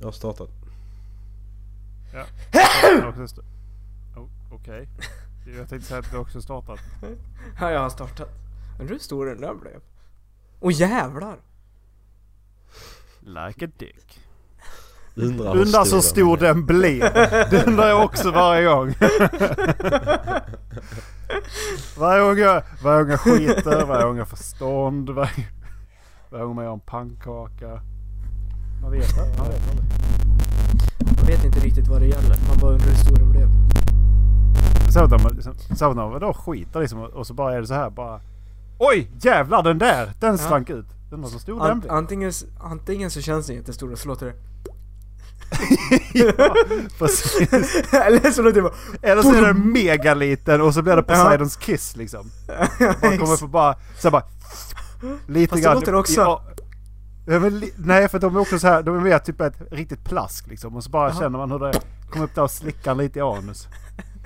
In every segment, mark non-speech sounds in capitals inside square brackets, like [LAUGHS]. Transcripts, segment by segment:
Jag har startat. Ja. Jag har också sta- oh, Okej. Jag tänkte säga att du också startat. Ja, jag har startat. Undrar hur stor den där blev. Åh jävlar! Like a dick. Undrar hur Undrar så stor den den blev. Det undrar jag också varje gång. Varje gång jag, varje gång jag skiter, varje gång jag får stånd, varje, varje gång man gör en pannkaka. Man vet aldrig. Man vet aldrig. Man vet inte riktigt vad det gäller. Man bara undrar hur stor den blev. Särskilt när man, liksom, särskilt när man då skiter liksom och- och så bara är det så här bara. Oj! Jävlar den där! Den slank ut. Den var så stor den An- blev. antingen, s- antingen så känns den jättestor och så låter det... [LAUGHS] [LAUGHS] Ja, precis. Eller så låter det bara... Eller så är den megaliten och så blir det Poseidons kiss liksom. Man kommer få bara, så här bara lite Fast det grann. låter också- Ja, ja, men li- nej för de är också så här, de är mer typ ett riktigt plask liksom och så bara känner man hur det kommer upp där och slickar lite i [LAUGHS] anus.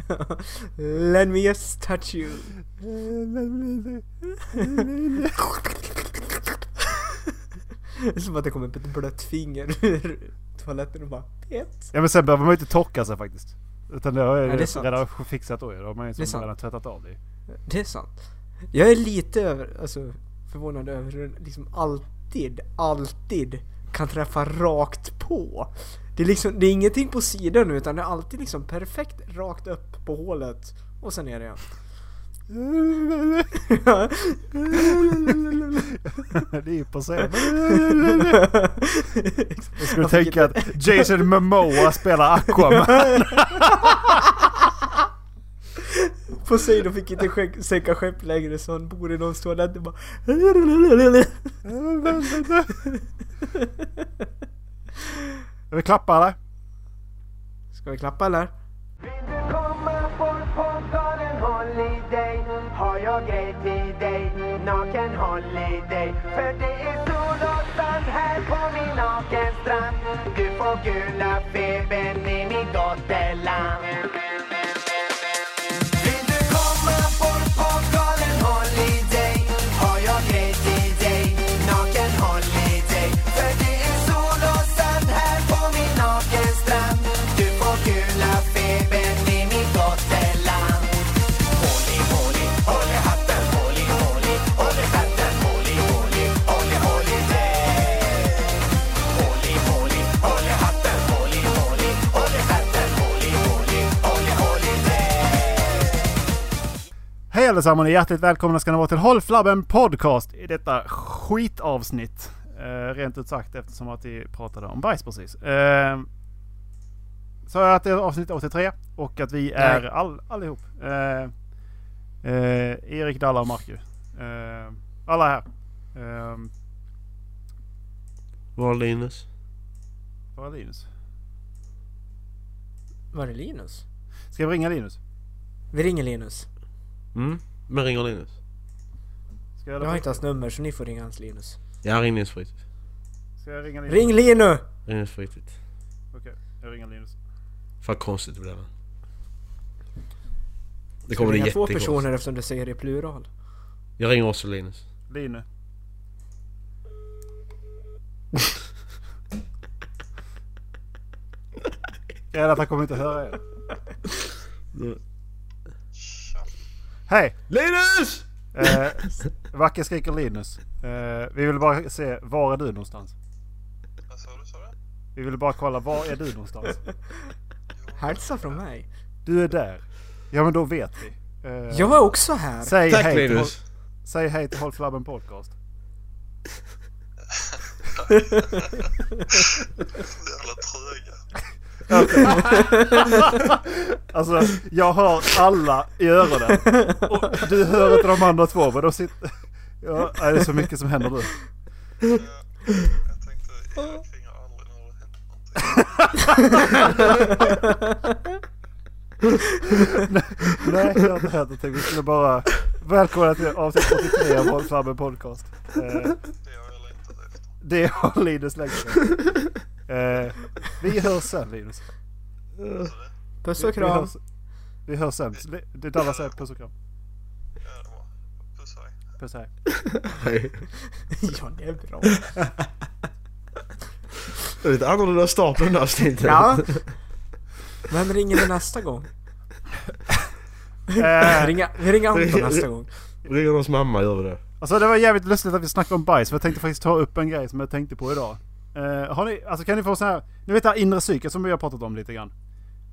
[LAUGHS] Let me just touch you. [LAUGHS] Det är som att det kommer upp ett blött finger ur toaletten och bara... Pet. Ja men sen behöver man ju inte torka sig faktiskt. Utan det har jag Ja, ju det är sant. redan fixat då ju. Då har man ju Det som är sant. redan tvättat av det [LAUGHS] ju. [LAUGHS] Det är sant. Jag är lite över, alltså, förvånad över hur den liksom alltid, alltid kan träffa rakt på. Det är liksom, det är ingenting på sidan nu utan det är alltid liksom perfekt rakt upp på hålet och sen är det igen. det är ju på scen. [LAUGHS] Jag skulle Jag fick tänka att Jason Momoa spelar Aquaman. Poseidon fick inte skäck, sänka skepp längre så han bor i någons toalett [LAUGHS] och bara Vi klappar eller? Ska vi klappa eller? Vill du komma bort på galen holiday? Har jag grej till dig? Naken holiday. För det är sol och sand här på min nakenstrand. Du får gula febern i mitt dotterland. Vill du komma bort på galen holiday? Har jag grej till dig? Naken holiday. För det är sol och sand här på min nakenstrand. Du får gula febern i mitt gotteland. Håli, håli, håli hatten, håli, håli, håli hatten, håli, håli, håli holiday. Håli, håli, håli hatten, håli, håli, håli hatten, håli, håli, håli holiday. Hej allesammans och hjärtligt välkomna ska ni vara till Håll Flabben Podcast i detta skitavsnitt. Eh, rent ut sagt eftersom att vi pratade om bajs precis. Eh, så jag att det är avsnitt 83 och att vi är Nej. all, allihop. Eh, eh, Erik, Dalla och Marcus. Eh, alla är här. Eh, Var Linus? var är Linus? Var är Linus? Ska vi ringa Linus? Vi ringer Linus. Mm? Men ringer Linus? Ska jag, Jag har inte hans nummer så ni får ringa hans Linus. Mm. Ja, ring Linus fritid. ska jag ringa Linus? Ring Linus! Linus fritid. Okej, jag ringer Linus. Fan konstigt det blev. Det Ska kommer bli ringa två jättekonstigt. personer eftersom du säger det i plural. Jag ringer också Linus. [LAUGHS] Linus. Jag är rädd att han kommer inte höra er. Hej! Linus! Eh, Vacke skriker Linus. Eh, vi vill bara se, var är du någonstans? Vad sa du, sa du? Vi vill bara kolla, var är du någonstans? Hälsa från mig. Du är där. Ja men då vet vi. Eh, Jag är också här. säg, Tack hej till, Linus! Håll- säg hej till Håll Flabben Podcast. Jävla tröga. [LAUGHS] Alltså jag hör alla i öronen. Och du hör inte de andra två men de sitter... Ja, nej, det är så mycket som händer nu. Jag tänkte, Erik ringer aldrig när det händer någonting. Nej, jag har inte hänt någonting. Vi skulle bara välkomna till avsnitt 83 av Håll Flabben Podcast. Eh, Det har jag längtat efter. det har Linus Längström. Eh, vi hörs sen Linus. Puss och Vi kram. hörs, vi hörs sen. Det- Det är Dallas här. Puss och kram. Ja, det var. Puss hej. Puss hej. Hej. Ja, det är bra. Det är lite annorlunda start på den här avsnittet. Ja. Vem ringer vi nästa gång? Eh, Ringa, vi ringer Anton nästa gång. Ringer någons mamma gör vi det. Alltså det var jävligt lustigt att vi snackade om bajs, för jag tänkte faktiskt ta upp en grej som jag tänkte på idag. Eh, har ni, alltså kan ni få så här, ni vet det här inre psyket som vi har pratat om lite grann.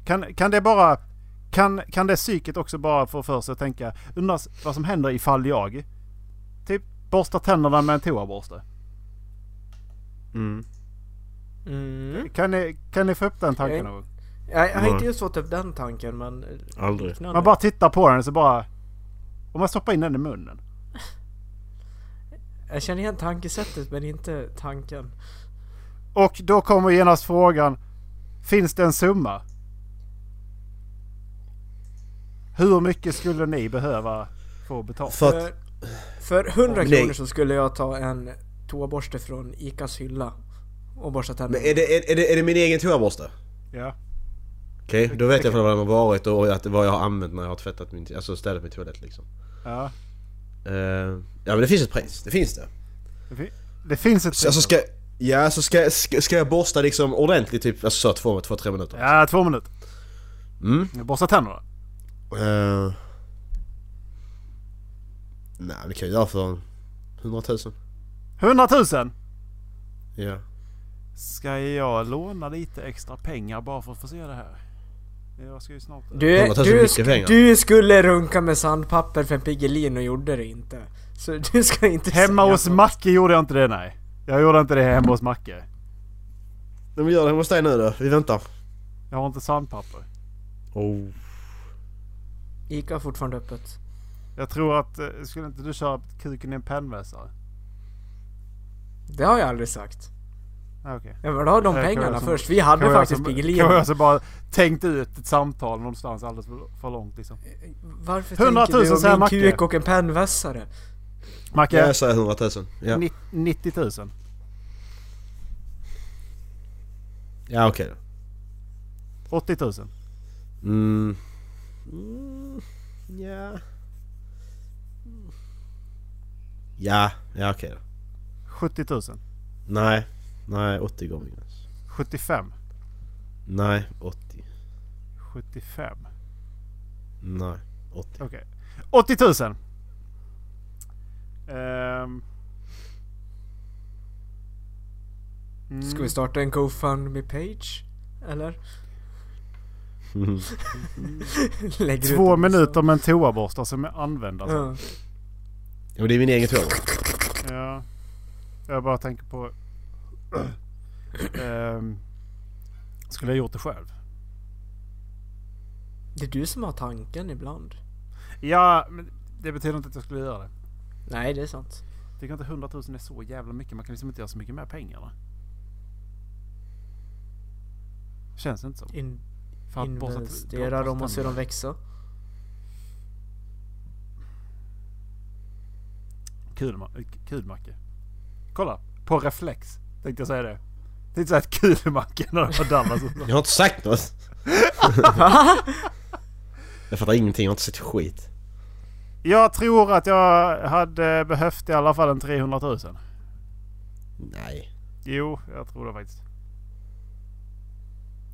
Kan, kan det bara, kan, kan det psyket också bara få för sig att tänka, undras vad som händer ifall jag, typ borstar tänderna med en toaborste. Mm. Mm. Kan ni, kan ni få upp den tanken någon gång? Jag, jag har inte Nej. just fått upp den tanken men... Aldrig. liknande. Man bara tittar på den så bara, om man stoppar in den i munnen. Jag känner igen tankesättet men inte tanken. Och då kommer genast frågan, finns det en summa? Hur mycket skulle ni behöva få betalt? För att... För, för 100 Nej. kronor så skulle jag ta en toaborste från Icas hylla och borsta Men tänderna. är det, är, är det, är det min egen toaborste? Ja. Okej, då vet jag för vad den har varit och att, vad jag har använt när jag har tvättat min, alltså städat min toalett liksom. ja. Eh, ja men det finns ett pris, det finns det. Det, fi- det finns ett... Så, alltså ska, ja så ska, ska, ska jag borsta liksom ordentligt typ, alltså så två, två, tre minuter? Ja, två minuter. Mm. Borsta tänderna. Eh, nej det kan jag göra för 100 000. 100 000! Ja. Ska jag låna lite extra pengar bara för att få se det här? Jag ska ju snart... Du, 100 000 du, mycket pengar. du skulle runka med sandpapper för en Piggelin och gjorde det inte. Så [LAUGHS] du ska inte Hemma säga hos något. Macke gjorde jag inte det nej. Jag gjorde inte det hemma hos Macke. Men vi gör det hemma hos dig nu då, vi väntar. Jag har inte sandpapper. Oh. Ica har fortfarande öppet. Jag tror att... eh, Skulle inte du köra kuken i en pennvässare? Det har jag aldrig sagt. Ah, Okej. Jag vill ha de Det kan pengarna vara som- först. Vi hade Kan faktiskt som- Piggelin. Kan vi alltså bara tänkt ut ett samtal någonstans alldeles för- för långt liksom. Varför 100 tänker 000 du om säger min Macke. kuk och en pennvässare? Macke, Ja, jag säger 100 000. Ja, ni- 90 000. ja okej då. 80 000. Mm. Ja. Ja, ja okej då. 70 000. Nej, nej 80 går min gräns. 75. Nej, 80. 75. Nej, 80. Okej. 80 000! Ehm. Mm. Ska vi starta en GoFundMe-page? Eller? [LAUGHS] Lägger ut Mm. Två en massa- minuter med en toaborste som är använd alltså. Ja. Ja, men det är min egen tur. Ja. Jag bara tänker på... [CLEARS THROAT] Ehm. skulle jag gjort det själv? Det är du som har tanken ibland. Ja, men det betyder inte att jag skulle göra det. Nej, det är sant. Jag tycker inte 100 000 är så jävla mycket. Man kan liksom inte göra så mycket med pengarna. Känns det inte som. In- För att borsta- investera dem och se dem växa. Kul, ma- kul Macke. eh, Kolla, på reflex tänkte jag säga det. Tänkte säga att kul Macke när det var Dallas. [LAUGHS] Jag har inte sagt något. jag fattar ingenting, jag har inte sett skit. jag tror att jag hade behövt i alla fall en 300 000. Nej. Jo, jag tror det faktiskt.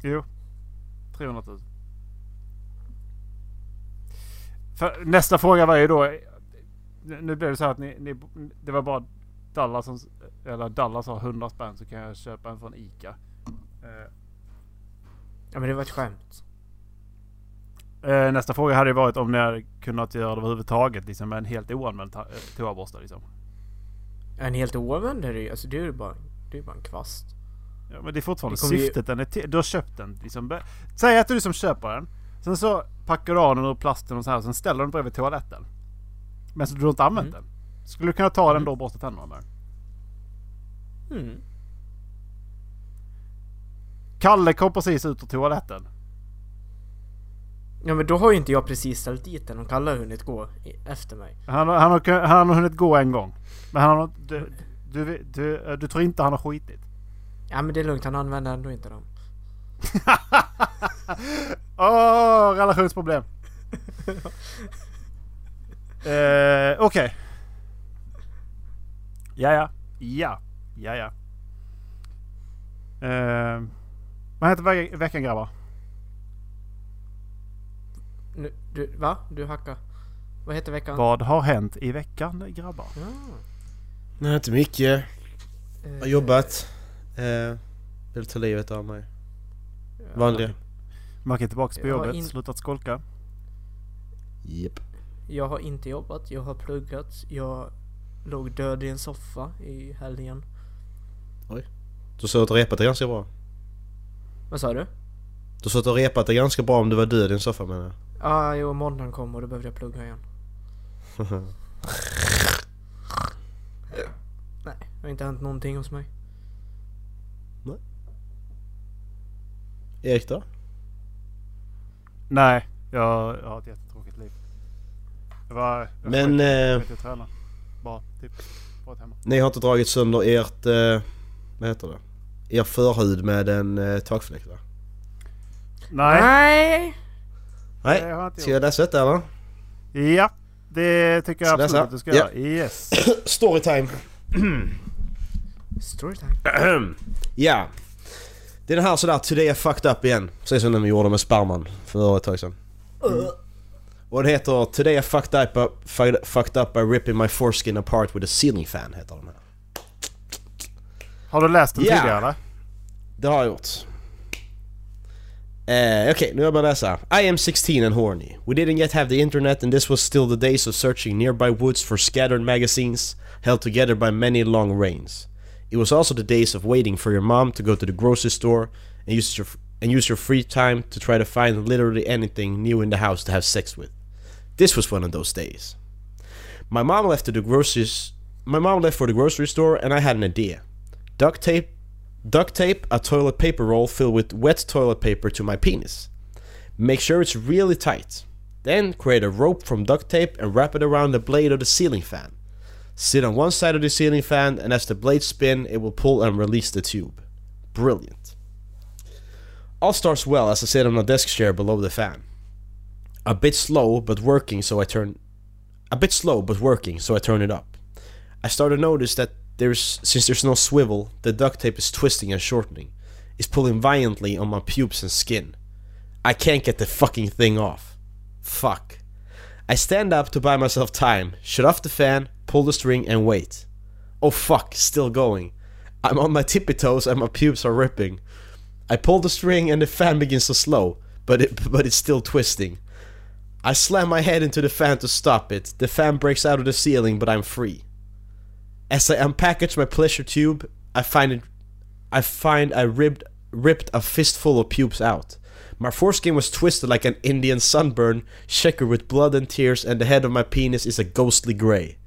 Jo. 300 000. För, nästa fråga var ju då. Nu blev det så här att ni, ni, det var bara Dallas som, eller Dallas har 100 spänn så kan jag köpa en från ICA. Eh, Ja men det var ett skämt. eh, nästa fråga hade ju varit om ni hade kunnat göra det överhuvudtaget liksom med en helt oanvänd ta- eh, toaborste liksom. En helt oanvänd är det ju. Alltså det är ju bara, det är ju bara en kvast. Ja, men det är fortfarande Det kommer ju- syftet. Den är till, du har köpt den. Liksom. Be- Säg att det är du som köper den. Sen så packar du av den ur plasten och så här. Sen ställer du den bredvid toaletten. Men så du har inte använt Mm. den. Skulle du kunna ta den då och borsta tänderna med den? Mm. Kalle kom precis ut ur toaletten. Ja men då har ju inte jag precis ställt dit den om Kalle har hunnit gå i, efter mig. Han, har- han, har, kun- han har hunnit gå en gång. Men han har, du, du, du, du tror inte han har skitit? Ja men det är lugnt, han använder ändå inte den. [LAUGHS] Åh, [LAUGHS] relationsproblem! eh, Okej. Ja, ja. Ja, ja. Ja, ja. Eh, vad heter ve- veckan grabbar? Nu, du, va? Du hackar. Vad heter veckan? Vad har hänt i veckan grabbar? Ja, Nej, inte mycket. eh, Jag har jobbat. Eh, vill ta livet av mig. ja. Vanliga. Mark är tillbaka på Jag har jobbet, in- slutat skolka. Japp. Jag har inte jobbat, jag har pluggat, jag låg död i en soffa i helgen. Du sa att du repat det ganska bra. Vad sa du? Du sa att du repat det ganska bra om du var död i din soffa menar jag. Ja, ah, jo, måndagen kom och då behövde jag [LAUGHS] plugga igen. Nej, det har inte hänt någonting hos mig. Erik då? Nej, jag, jag har ett jättetråkigt liv. Jag var... Jag Men sköt- eh, sköt och tränade. Bara typ. Bara hemma. ni har inte dragit sönder ert... Eh, vad heter det? Er förhud med en eh, takfläkt va? Nej, Nej. det Nej. har jag inte Ska gjort. jag läsa detta eller? Ja, det tycker jag Ska absolut jag läsa? att du ska Ja. göra. Yes. Storytime. Storytime. [CLEARS THROAT] Ja. Det är den här sådär Today I fucked up igen. Precis som den vi gjorde med sperman för ett tag sedan. Mm. Och det heter Today I fucked up, by- fucked- fucked up by ripping my foreskin apart with a ceiling fan heter den här. Har du läst den Ja. tidigare eller? Det har jag gjort. Eh, Okej, nu jag bara läsa. I am 16 and horny. We didn't yet have the internet and this was still the days of searching nearby woods for scattered magazines held together by many long rains. It was also the days of waiting for your mom to go to the grocery store and use your and use your free time to try to find literally anything new in the house to have sex with. This was one of those days. My mom left to the groceries. My mom left for the grocery store, and I had an idea. Duct tape, duct tape a toilet paper roll filled with wet toilet paper to my penis. Make sure it's really tight. Then create a rope from duct tape and wrap it around the blade of the ceiling fan. Sit on one side of the ceiling fan, and as the blades spin, it will pull and release the tube. Brilliant. All starts well as I sit on a desk chair below the fan. A bit slow, but working, so I turn a bit slow but working, so I turn it up. I start to notice that there's since there's no swivel, the duct tape is twisting and shortening. It's pulling violently on my pubes and skin. I can't get the fucking thing off. Fuck. I stand up to buy myself time, shut off the fan, pull the string, and wait. Oh fuck, still going. I'm on my tippy toes and my pubes are ripping. I pull the string and the fan begins to slow, but it but it's still twisting. I slam my head into the fan to stop it. The fan breaks out of the ceiling, but I'm free. As I unpackage my pleasure tube, I find it, I find I ripped ripped a fistful of pubes out. My foreskin was twisted like an Indian sunburn, checkered with blood and tears, and the head of my penis is a ghostly gray.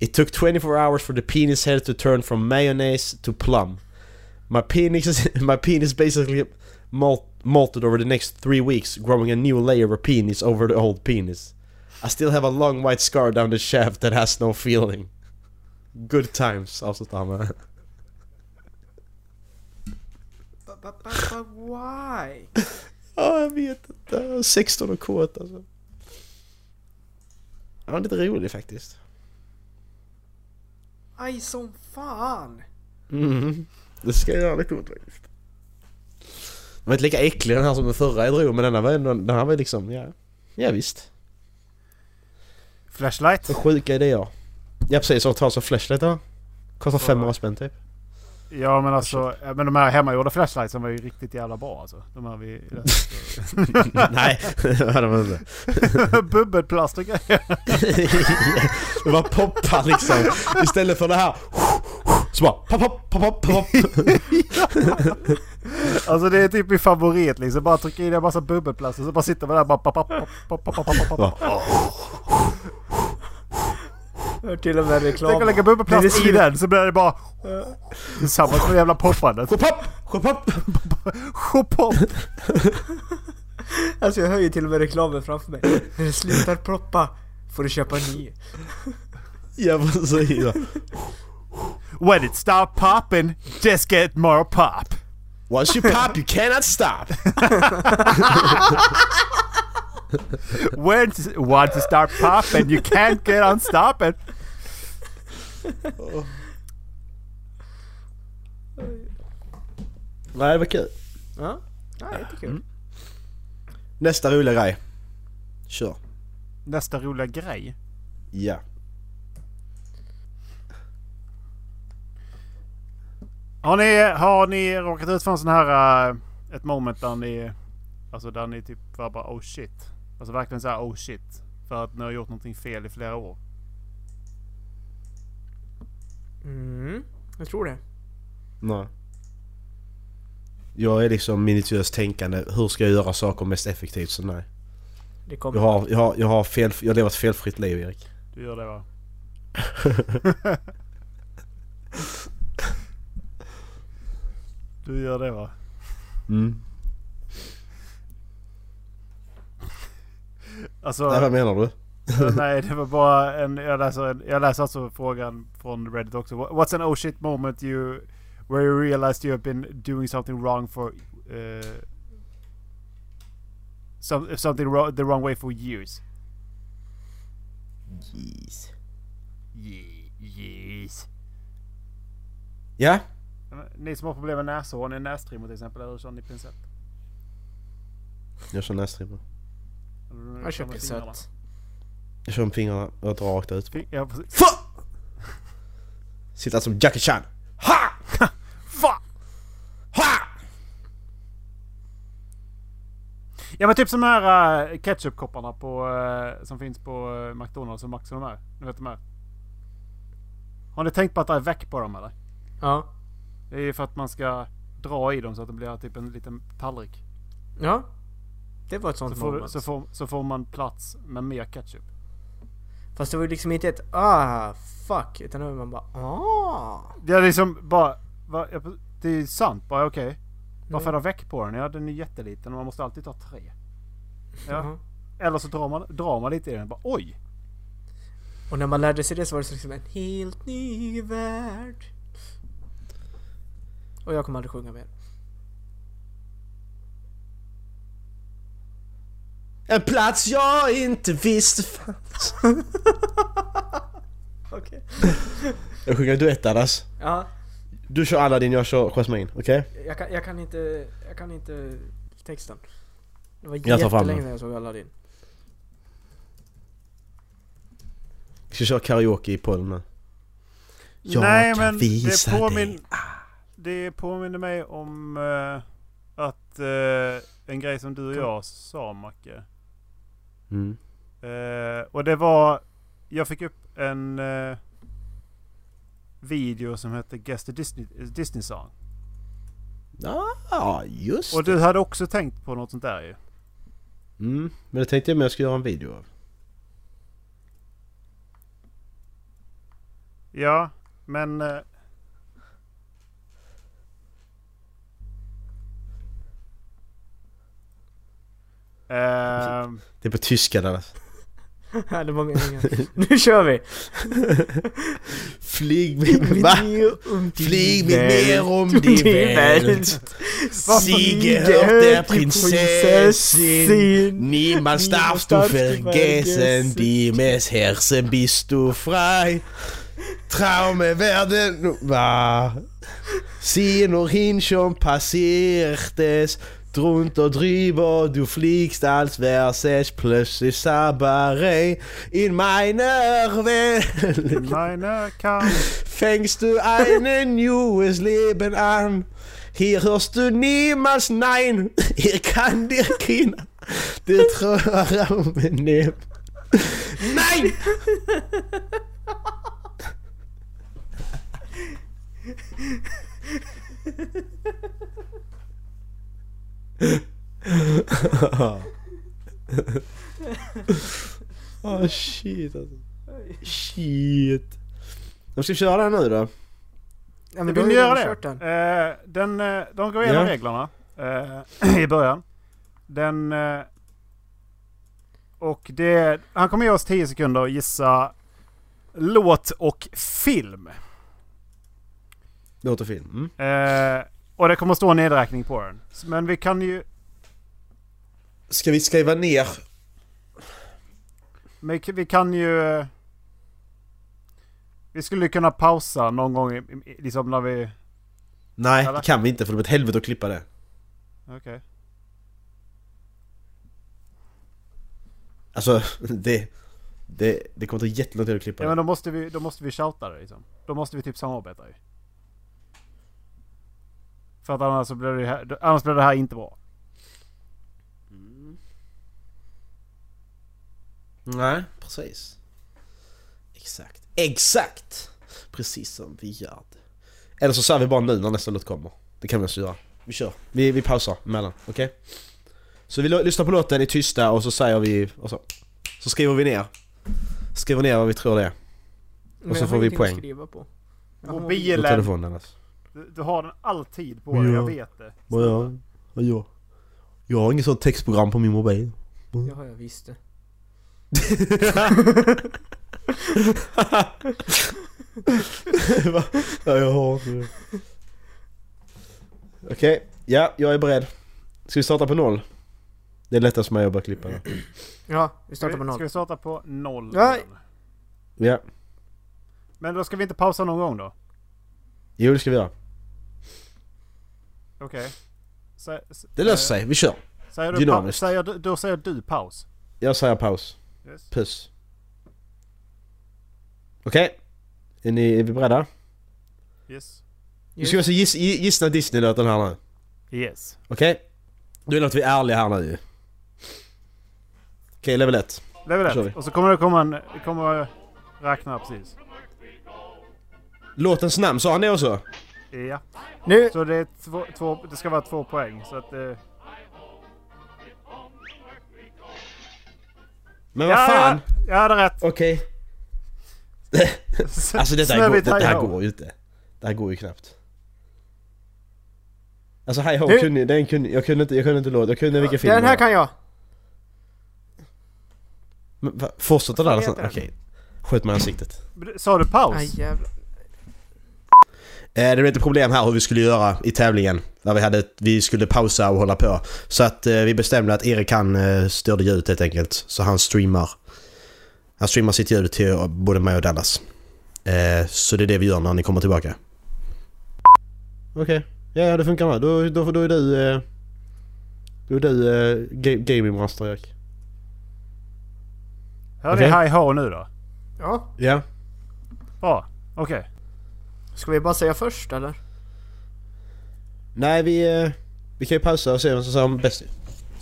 It took 24 hours for the penis head to turn from mayonnaise to plum. My penis is [LAUGHS] my penis basically molt, molted over the next three weeks, growing a new layer of penis over the old penis. I still have a long white scar down the shaft that has no feeling. Good times, avslutar han med. Ba, ba, ba, ba, why? Ja, jag vet inte. Jag är 16 och kåt alltså. Han var lite rolig faktiskt. Aj som fan. Mm. Det ska jag göra, det coolt faktiskt. Den var inte lika äcklig den här som den förra jag drog, men denna var ändå, den här var liksom, ja. Ja visst. Flashlight? Så sjuka idéer. Ja precis, och ta som flashlight då. Kostar 500 spänn typ. Ja men alltså, eh, men de här hemmagjorda flashlightsen var ju riktigt jävla bra alltså. De här vi... [LAUGHS] [LAUGHS] Nej, det var de inte. Bubbelplast och grejer. Det var poppar liksom. [LAUGHS] Istället för det här. Så bara pop, pop, pop, pop, pop. Alltså det är typ min favorit liksom. Bara trycka in en massa bubbelplast och så bara sitter man där bara... Pop, pop, pop, pop, pop, pop, pop, pop. Jag Hör till och med reklam. Tänk att lägga Det är bubbelplast så- i den så blir det bara... Tillsammans med jävla poppandet. Pop, pop, pop. Chopop! Alltså jag hör ju till och med reklamen framför mig. När det slutar proppa får du köpa en ny. [LAUGHS] Ja precis. When it start popping, just get more pop. Once you pop you cannot stop. When once it start popping, you can't get on stopping. [LAUGHS] Nej, det var kul. Ja, ja jättekul. Nästa roliga grej. Kör. Nästa roliga grej. Ja. Har ni, har ni råkat ut för en sån här... eh, ett moment där ni... Alltså där ni typ var bara oh shit. Alltså verkligen såhär oh shit. För att ni har gjort någonting fel i flera år. Mm, jag tror det. Nej. Jag är liksom minutiöst tänkande. Hur ska jag göra saker mest effektivt? Så nej. Det kommer. Jag har, jag har, jag har, fel, jag har levat ett felfritt liv Erik. Du gör det va? du gör det va? Mm. Alltså... Nej, vad menar du? Eh, Nej, det var bara en... Jag läser, en, jag läser alltså frågan från Reddit också. Wha- What's an oh shit moment you... Where you realized you have been doing something wrong for... eh, some, something wrong, the wrong way for years. Jeez. Ye- Years. Ja? Ni som har problem med näsor, har ni nästrimmor till exempel? Eller kör ni pincett? Jag kör nästrimmor. Eller Jag kör kör med fingrarna? pincett. Jag kör med fingrarna och drar rakt ut. Fing- Ja, precis. Fan! Sitter som Jackie Chan. Ha! Fan! Ha! Ja men typ som de här äh, ketchupkopparna på, eh, som finns på eh, McDonalds och Max och de här. Ni vet de här. Har ni tänkt på att det är väck på dem eller? Ja. Det är ju för att man ska dra i dem så att det blir typ en liten tallrik. Ja. Det var ett sånt Så får, moment. så, får, så får man plats med mer ketchup. Fast det var ju liksom inte ett ah fuck, utan då var man bara ah. Det är liksom bara... Va, ja, det är sant bara okej. Varför är det väck på den? Ja den är jätteliten och man måste alltid ta tre. Ja. Ja. Eller så drar man, drar man lite i den bara oj! Och när man lärde sig det så var det liksom en helt ny värld. Och jag kommer aldrig sjunga mer. En plats jag inte visste fanns. Okej. Jag sjunger duett annars. Ja, Du kör Aladdin, jag kör Jasmine. Okej? jag kan, jag kan inte, jag kan inte texten. Det var Jag tar fram jättelänge den. sedan jag såg [LAUGHS] Aladdin. Vi ska köra karaoke i podden nu. Jag Nej, kan men det visa påmin- dig. Det påminner mig om eh, att eh, en grej som du och jag sa Macke. Mm. Eh, och det var, jag fick upp en eh, video som hette Guess the Disney, Disney Song. Ja, just Och det. du hade också tänkt på något sånt där ju. Mm. Men det tänkte jag med jag skulle göra en video av. Ja, men... eh, Alltså, Ehm, Det är på tyska där. Ja, det var [LAUGHS] meningen. nu kör vi! Flyg mig... [LAUGHS] Va? Flyg mig ner om din värld. Sige hörte prinsessin. Niemals darfst du vergessen, Dimes Herse bist du frei. Traume werden wahr. Sieh nur hin, schon passiert es. Drunter drüber, du fliegst als wär's es plötzlich Sabarei. In meiner Welt Meine kan... fängst du ein neues Leben an. Hier hörst du niemals Nein, [LAUGHS] hier kann dir keiner den Traum nehmen. Nein! oh shit alltså. Shit. De ska köra den nu då? Ja, men Men [LAUGHS] då vill ni har jag göra redan kört det? den. Eh, den, eh, de går igenom Ja. reglerna eh, [CLEARS THROAT] i början. Den... eh, och det... Han kommer ge oss 10 sekunder och gissa låt och film. Låter film. Mm. Eh, och det kommer stå en nedräkning på den. S- Men vi kan ju... Ska vi skriva ner? men k- Vi kan ju... eh, Vi skulle kunna pausa någon gång i- i- liksom när vi... Nej, Eller? det kan vi inte för det blir ett helvete att klippa det. Okej. Alltså, [LAUGHS] det... Det, det kommer ta jättelång tid att klippa Ja det. men då måste vi, då måste vi shouta det liksom. Då måste vi typ samarbeta ju. För att annars så blir det ju här, annars blir det här inte bra. Nej, precis. Exakt. Exakt! Precis som vi gör det. Eller så säger vi bara nu när nästa låt kommer. Det kan vi också göra. Vi kör. Vi, vi pausar emellan, okej? Så vi lo- lyssnar på låten i tysta och så säger vi... Och så, så skriver vi ner. Skriver ner vad vi tror det är. Men så jag har får ingenting vi att poäng. Skriva på. Jag har- På Mobilen! telefonen alltså. Du, du har den alltid på dig, Ja. jag vet det. Vad jag? Vad jag? Jag har inget sånt textprogram på min mobil. Ja, jag visste. Va? Ja, jag har inte det. Okej, ja, jag är beredd. Ska vi starta på noll? Det är lättast för mig att börja klippa nu. Ja, vi startar Ska på vi- Ska noll. vi starta på noll? Nej. igen? Ja, Men då ska vi inte pausa någon gång då? jo det ska vi göra. Okej. Sä- s- Det eh, löser sig, vi kör. Säger du pa- Dynamiskt. säger, du- då säger du paus. Jag säger paus. Yes. Puss. Okej, är, ni, är vi beredda? Yes. Nu ska vi alltså giss, gi- gissna Disney-låten här nu. Yes. Okej? Nu är det att vi är ärliga här nu ju. Okej, level 1. Level kör vi. 1. Och så kommer det komma en... det kommer räkna precis. Låtens namn, sa han det också? Ja. Nu! Så det, är två, två, det ska vara två poäng. Så att, eh, Men vad ja, fan! ja, jag hade rätt. Okej. [LAUGHS] Alltså detta här, går, Snövit, det, det här hi-ho. går ju inte. Det här går ju knappt. Alltså Hi Ho Nu- kunde, den kunde, jag kunde inte, jag kunde inte låta, jag kunde vilken film Den det här var. kan jag! Men va, fortsätter där Vad alltså? heter den? Okej. Sköt mig i ansiktet. Sa du paus? Aj jävlar. Eh, det blev ett problem här hur vi skulle göra i tävlingen. Där vi, hade, ett- vi skulle pausa och hålla på. Så att eh, vi bestämde att Erik han eh, störde ljudet helt enkelt. Så han streamar. Han streamar sitt ljud till eh, både mig och Dallas. Eh, så det är det vi gör när ni kommer tillbaka. Okej. Ja, ja, det funkar med. Då, då, då är du... Eh, då är du eh, ga- gaming master Erik. Hör ni Okej. hi ho nu då? Ja, Ja. Bra. Okej. ska vi bara säga först eller? Nej vi... Eh, vi kan ju pausa och se vem som säger bäst.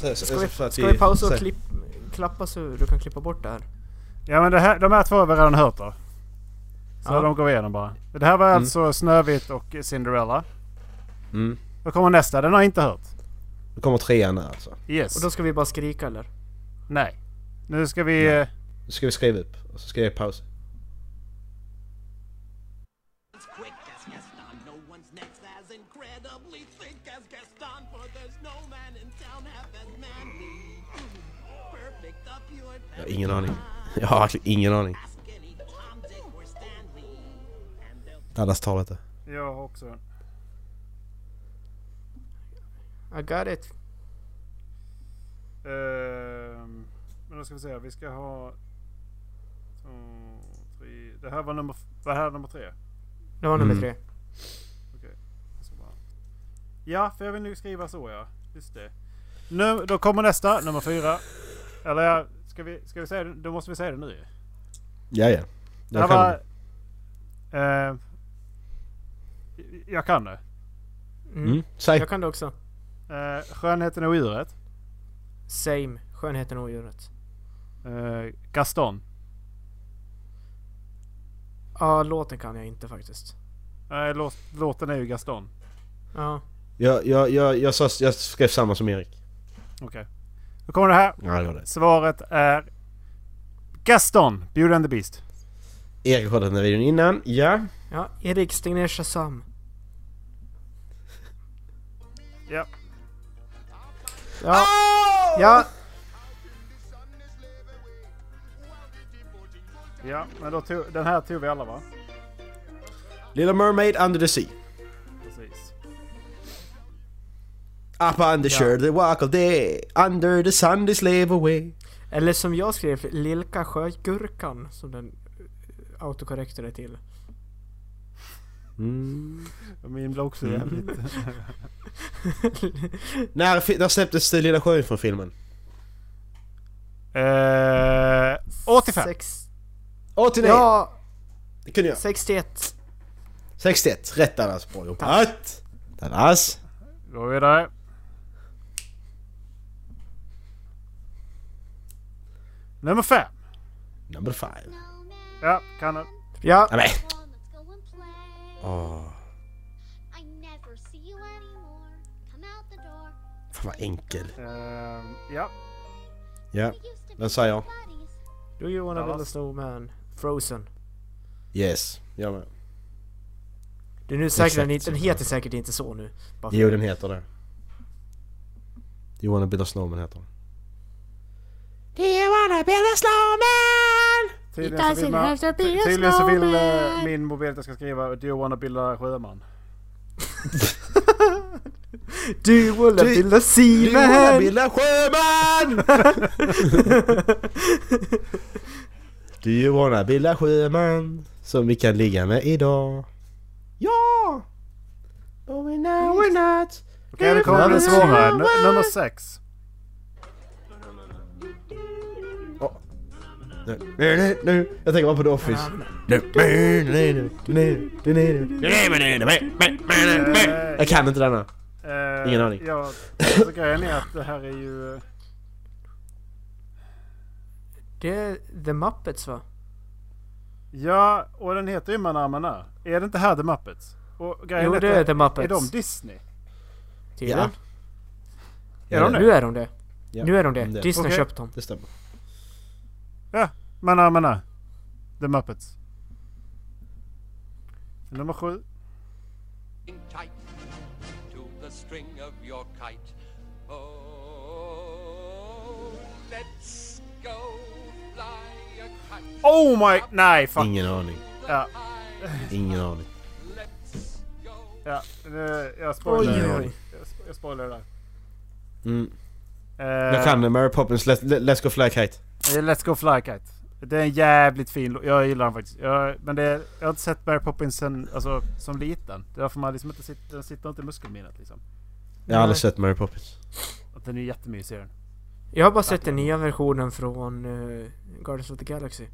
Så- så- Ska så vi, att ska vi pausa så- och klipp, klappa så du kan klippa bort det här? Ja men det här, de här två har vi redan hört då. Så Ja. de går vi igenom bara. Det här var alltså Snövit och Cinderella. Mm. Då kommer nästa, den har jag inte hört. Då kommer trean här alltså. Yes. Och då ska vi bara skrika eller? Nej. Nu ska vi... eh, Nu ska vi skriva upp och så ska jag pausa. as quick as Gaston. No one's next as incredibly thick as Gaston, for there's no man in town half as manly. Perfect up your Jag har ingen aning. [LAUGHS] Jag har verkligen ingen aning. skinny Tom, Dick, or Stanley. And they'll Dallas tar detta. Jag har också den. I got it. Ehm, men då ska vi se, vi ska ha... Två, tre. Det här var nummer... f- Var det här nummer tre? Det var Mm. nummer tre. Jag ska bara- Ja, för jag vill nu skriva så ja. Just det. Nu, då kommer nästa, nummer fyra. Eller ja, ska vi, ska vi säga det? Då måste vi säga det nu ju. Ja, ja. Det här Jag kan. var... Eh, jag kan det. Mm. Mm. Säg. Jag kan det också. Eh, skönheten och odjuret. Same. Skönheten och odjuret. Eh, Gaston. Ja, låten kan jag inte faktiskt. Nej, låt, låten är ju Gaston. Ja. Jag, jag, jag, jag, sa, jag skrev samma som Erik. Okej. Då kommer det här. Ja, det var det. Svaret är Gaston, Beauty and the Beast. Erik har kollat den här videon innan. Ja. Ja, Erik, stäng ner Shazam. Ja. Ja. Ja. Ja, men då tog, den här tog vi alla va? Little Mermaid Under the Sea. Precis. Up on the shore, the walk of day. Under the sun, they slave away. Eller som jag skrev, Lilka Sjögurkan. Som den eh, autokorrekten är till. Min blev också jävligt... När, fi- när släpptes det Lilla Sjöjungfrun-filmen? Eh, 85! Sex, 89! ja, Det kunde jag. 61. 61, rätt Dallas. Bra jobbat! Dallas! Går vidare. Nummer fem. Number five. Ja, kan den. Ja, Nej, Come, let's go and play. men. Åh, I never see you anymore. Come out the door. fan vad enkel. Ehm, ja. Ja, We used to den sa jag. buddies. Do you wanna build a Dallas. snowman? Frozen. Yes, jag med. Det är nu säkert den, Exakt. den heter säkert inte så nu. Bara för- Jo, den heter det. Do you wanna build a snowman heter den. Do you wanna build a snowman? Tydligen så vill, man, ty- tydligen så vill eh, min mobil att jag ska skriva Do you wanna bilda sjöman? Do you wanna Do- build a Do you wanna seaman? build a [LAUGHS] sjöman? Do you wanna build a sjöman? Som vi kan ligga med idag. Ja! But we know we're not. Okej, det kommer bli svårare. N- nummer sex. Nu, nu, nu, nu. Jag tänker bara på The Office. Jag kan inte denna. Eh, Ingen aning. Ja, alltså, grejen är att det här är ju... eh, Det är The Muppets va? Ja, och den heter ju Manamana. Är det inte här The Muppets? Och grejen Jo, att det är The Muppets. Är de Disney? Tydligen. Är de Nu det? är de det. Ja, Nu är de det. det. Disney Okej. köpte dem. Det stämmer. Ja, Manamana. The Muppets. Nummer sju. Hang tight to the string of your kite. Oh, let's go fly a kite. Oh my... Nej, fuck. Ingen aning. Ja, Ingen aning. Let's go. ja. nu- Jag Oj, spoilar oj. Jag sp- Jag spoilar det Mm. där. Eh, Jag kan det. Mary Poppins, let, let, Let's Go Fly Kite. Eh, Let's Go Fly Kite. Det är en jävligt fin låt. Jag gillar den faktiskt. Jag, men det är, jag har inte sett Mary Poppins sen, alltså, som liten. Det är därför man liksom inte sitter, den sitter inte i muskelminnet liksom. Jag har aldrig sett Mary Poppins. Att den är jättemysig den. Jag har bara sett den nya versionen från eh, Guardians of the Galaxy.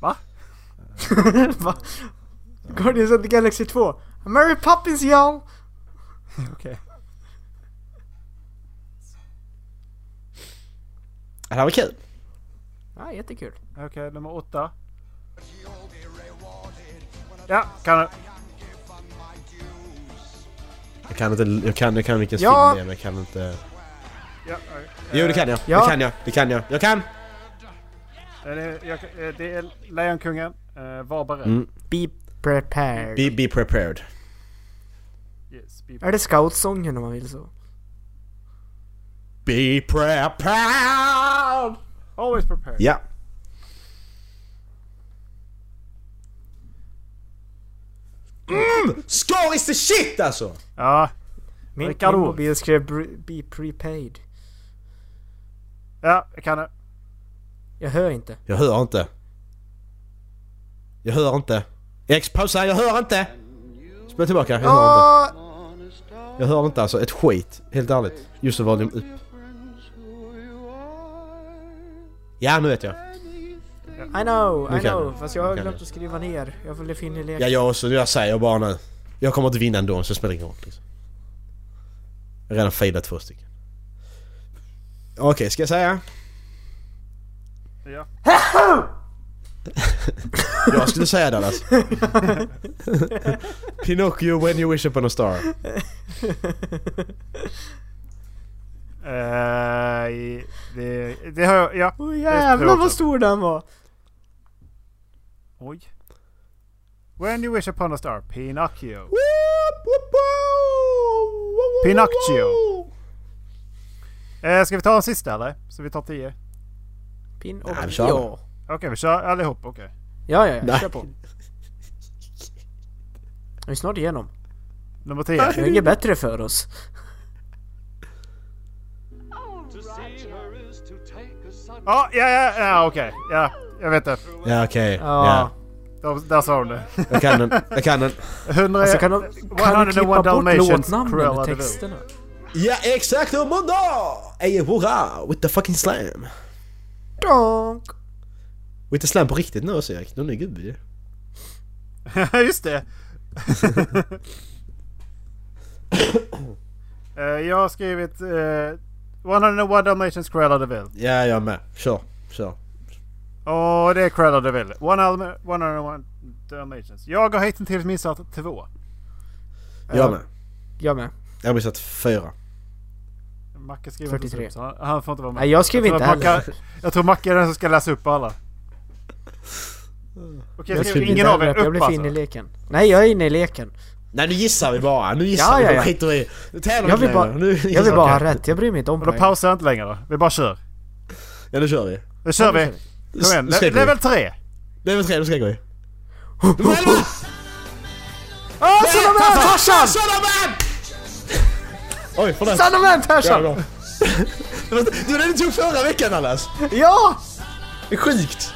Va? [LAUGHS] Va? Guardians of the Galaxy 2. Mary Poppins y'all! Okej. Det här var kul. Ja, jättekul. Okej, nummer åtta. Ja, kan du. Jag kan inte, jag kan, jag kan vilken Ja. film det är men jag kan inte... Ja, Jo det kan jag, Ja. det kan jag, det kan jag, jag kan! eh, det, är, jag, eh, det är Lejonkungen. Eh, var beredd. Mm. Be prepared. Be, be prepared. Yes, be- Är det scoutsången om man vill så? Be prepared! Always prepared. Ja. Mm! Scar is the shit alltså! Ja, Min, min Ricardo. mobil skrev br- be prepaid. ja, jag kan det. Jag hör inte. Jag hör inte. Jag hör inte. X, pausa, jag hör inte! Spela tillbaka, jag hör inte. Åh! Jag hör inte alltså, ett skit. Helt ärligt. Just det, volym upp. Ja, nu vet jag. I know, Nu I kan know. du. Fast jag har Nu kan glömt du. att skriva ner. Jag ville finna leken. Ja, jag också. Jag säger bara nu. Jag kommer inte vinna ändå, så det spelar ingen roll. Liksom. Jag har redan failat två stycken. Okej, ska jag säga? Ja. [LAUGHS] Jag skulle [LAUGHS] säga Dallas. Pinocchio when you wish upon a star. Eh, i- det, det har jag. Ja. Åh Det jävlar är vad stor den var! Oj. When you wish upon a star, Pinocchio. Pinocchio. Eh, ska vi ta en sista eller? Så vi tar tio. Pin och... Ja, vi kör. ja. Okej, vi kör allihop. Okej. Ja, ja, ja. Nej. Kör på. Vi är snart igenom. Nummer tio. [LAUGHS] Vi har inget bättre för oss. Ja, ja, ja, ja okej. Ja. Jag vet inte. Ja okej. Ja. Ja. Där, där sa hon det. [LAUGHS] Jag kan den. Jag kan den. 100, Alltså kan de, kan de 101 klippa bort Dalmatians låtnamnen Cruella de ur Vil. texterna? Ja exakt! Mundo! Ey hurra! With the fucking slam! Donk. With the slam på riktigt nu också Erik. Någon är gubbe ju. [LAUGHS] Just [LAUGHS] det. Eh, jag har skrivit uh, 101 Dalmatians Cruella de Vil. Ja jag med. Kör. Kör. Och det är Cruella de Vil. 101 Dalmatians. Jag har hittills missat två. Jag med. Jag med. Jag har missat fyra. Macke skriver inte 43. upp, så han- han får inte vara med. Nej, jag skriver tror inte att Macke- heller. Jag tror Macke är den som ska läsa upp alla. Okej, Jag skriver skriver ingen inte av heller er upp, jag upp blir för inne i alltså? leken. Nej, jag är inne i leken. Nej nu gissar vi bara. Nu gissar Ja, vi. ja, Nu ja. skiter vi i- Nu tävlar Jag vi vill inte bara, längre. Nu jag gissar vill vi. bara ha rätt, jag bryr mig inte om Och då poäng. pausar jag inte längre då. Vi bara kör. Ja nu kör vi. Nu kör vi. Kom igen. Nu ska Le- vi. Level 3. Level 3, nu ska jag gå i. Ah, Son of Man Tarzan! Oj, förlåt. Son of Man Tarzan! Det var det var det du tog förra veckan Allas! Ja! Det är sjukt!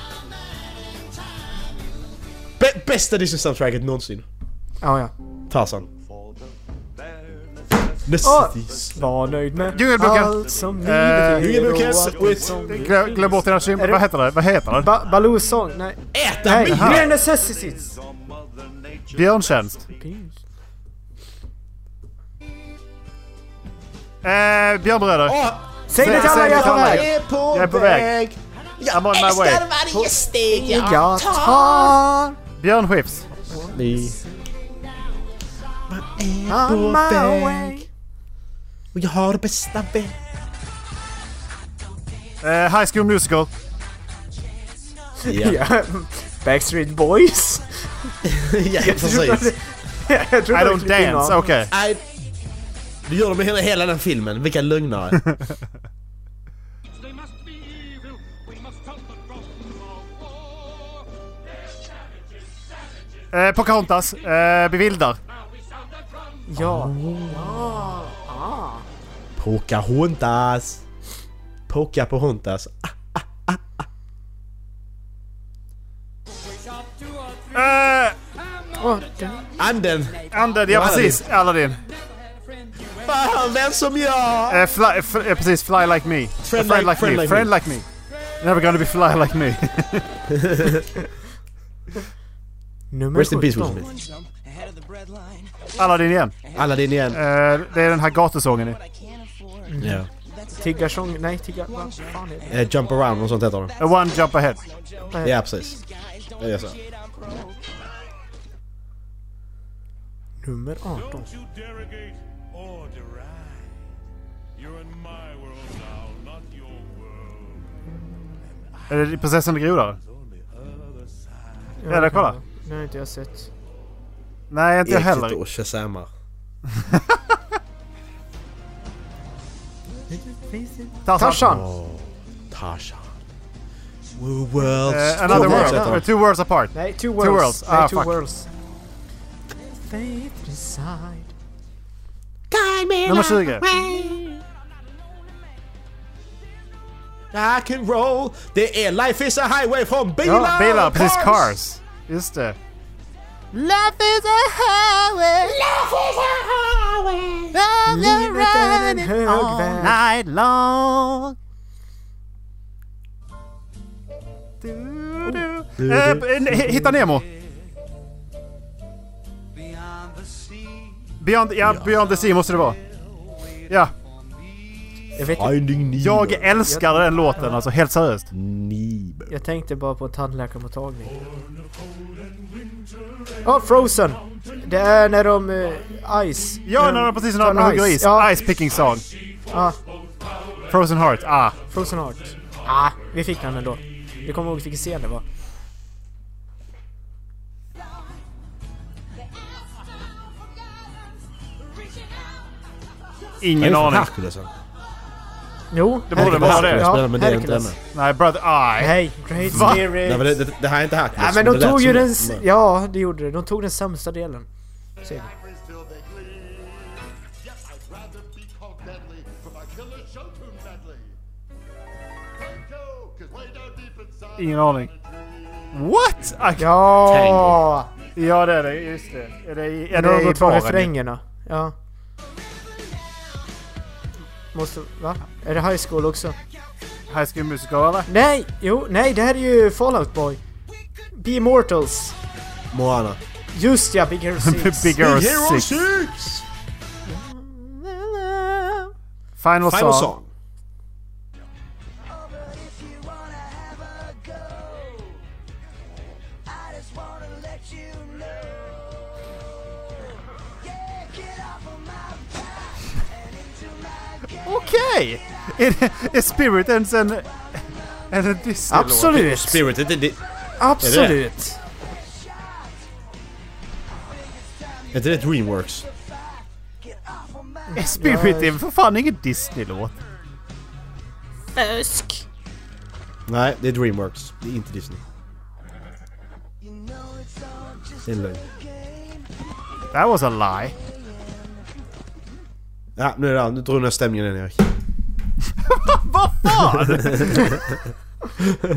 Bä- bästa Disney-soundtracket någonsin. Ja, ja. Tarzan. Åh! Necessities. Var nöjd med Djungelboken. allt som livet Eh, ger Djungelboken och allt with- som- Glöm, glöm bort dina Är sympatier. det- Vad heter det? Vad heter det? Ba- Baloos sång, nej. Äta Nej, mig! Mere Necessities! Björntjänst. Eh, Björnbröder. Åh, Säg det till alla säg det jag till tar alla. väg! är på Jag är på väg. Jag I'm on my way. älskar varje steg Jag tar Björn Skifs. on my way. Och jag har bästa vän. Eh, High School Musical. [LAUGHS] Ja, Ja. [LAUGHS] Backstreet [LAUGHS] Boys? ja [LAUGHS] precis. jag I trodde de don't klippte in dance. honom. Okej. Nej. Du gör det med hela, hela den filmen. Vilka lögnare. [LAUGHS] They must be evil. We must help the Russians for war. Eh, Pocahontas. Eh, Bevildar. Ja. Pocahontas. Poca på hontas. Eh, Anden. Anden. Ja, Aladdin. precis. Aladdin. Fan, vem som jag? Eh, fly, f- eh, precis, Fly Like Me. Friend Eh, like- friend me. like friend like me. Never gonna be fly like me. [LAUGHS] Nummer Rest in peace, Will 17. Smith. Jump ahead of the bread line. Aladdin igen. Aladdin igen. Eh, det är den här gatusången ju. I can't afford. Ja. Tiggarsång, nej tiggar... Vad fan är det? Eh, jump around och sånt heter det. A One Jump Ahead. Ja, precis. Det är så. Nummer 18. Don't you derogate or deride. You're in my world now, not your world. Är det Prinsessan och grodan? Eller kolla. Nu har inte jag sett. Nej, inte jag Erik heller. sitter och shazammar. Tarzan. Tarzan! Tarzan. Woo world. Eh, another Två world. worlds heter Eh, Two worlds apart. Nej, Two Worlds. Two Worlds. worlds. Ah, nej, two fuck. worlds. Faith inside. Nummer 20. Rock and roll. Det är Life is a highway från bilar. Ja, bilar. Precis, Cars. Just det. Livet är en hög väg. Night long. Du, du. Oh. Eh, eh, ne- Hitta Nemo. Beyond, ja, Beyond the Sea måste det vara. Ja, Jag vet inte. Finding Nemo. jag älskar den låten alltså, helt seriöst. Mm. Nemo. Jag tänkte bara på tandläkarmottagning. Ja, Frozen! Det är när de... eh, ice. Ja, när de precis när de tar hugger is. Ja, Ice picking song. Ja. Frozen Heart, ah. Frozen Heart. Ah, vi fick den ändå. Vi kommer ihåg vilken scen det var. Ingen aning. Hercules. Jo, Det borde Hercules. vara det. Ja, men det är inte Hercules. henne. Nej, Brother ah, Eye. Nej, Great Va? Spirit. Nej, men det, det, det här är inte Nej Hercules. men de det lät tog ju som- den... s- Ja, det gjorde det. De tog den sämsta delen. Ser vi. Ingen aning. What? Ah, Ja! Ja det är det, just det. Är det, i- är Det det, är i ju bara baren? refrängerna. Ja. Måste... Va? Är det High School också? High School Musical eller? Nej! Jo, nej det här är ju Fallout Boy. Be Immortals. Moana. Just ja, Big Hero [LAUGHS] [LAUGHS] 6. Bigger Six. Final, Final song. song. Okej! Är, det- är Spirit ens en... Är det Disney-låt? Absolut! Spirit, det, det, det, Absolut! är inte det Dreamworks? Är Spirit är för fan ingen Disney-låt. Fusk! Nej, det är Dreamworks. Det är inte Disney. Det är en lögn. That was a lie. Ja, nu är det Nu drog den här stämningen igen Erik. Vad fan!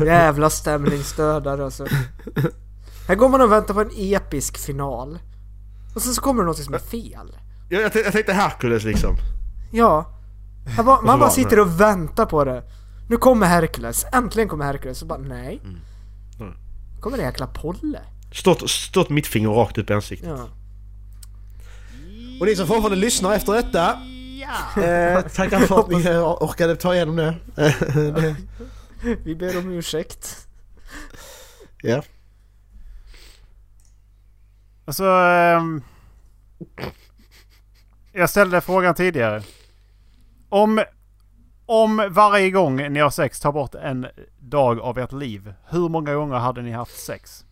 [LAUGHS] Jävla stämningsdödare alltså. Här går man och väntar på en episk final. Och sen så kommer det något som är fel. Jag, jag, tänkte, jag tänkte Hercules liksom. Ja. Här [LAUGHS] bara, man var bara det. sitter och väntar på det. Nu kommer Hercules. Äntligen kommer Hercules. Och bara nej. Mm. Kommer det jäkla Polle? Stått, stått mitt finger rakt upp i ansiktet. Ja. Och ni som fortfarande lyssnar efter detta. Eh, [LAUGHS] tackar för att ni eh, orkade ta igenom det. det. Vi ber om ursäkt. Ja. alltså... ehm, jag ställde frågan tidigare. Om... Om varje gång ni har sex tar bort en dag av ert liv. Hur många gånger hade ni haft sex?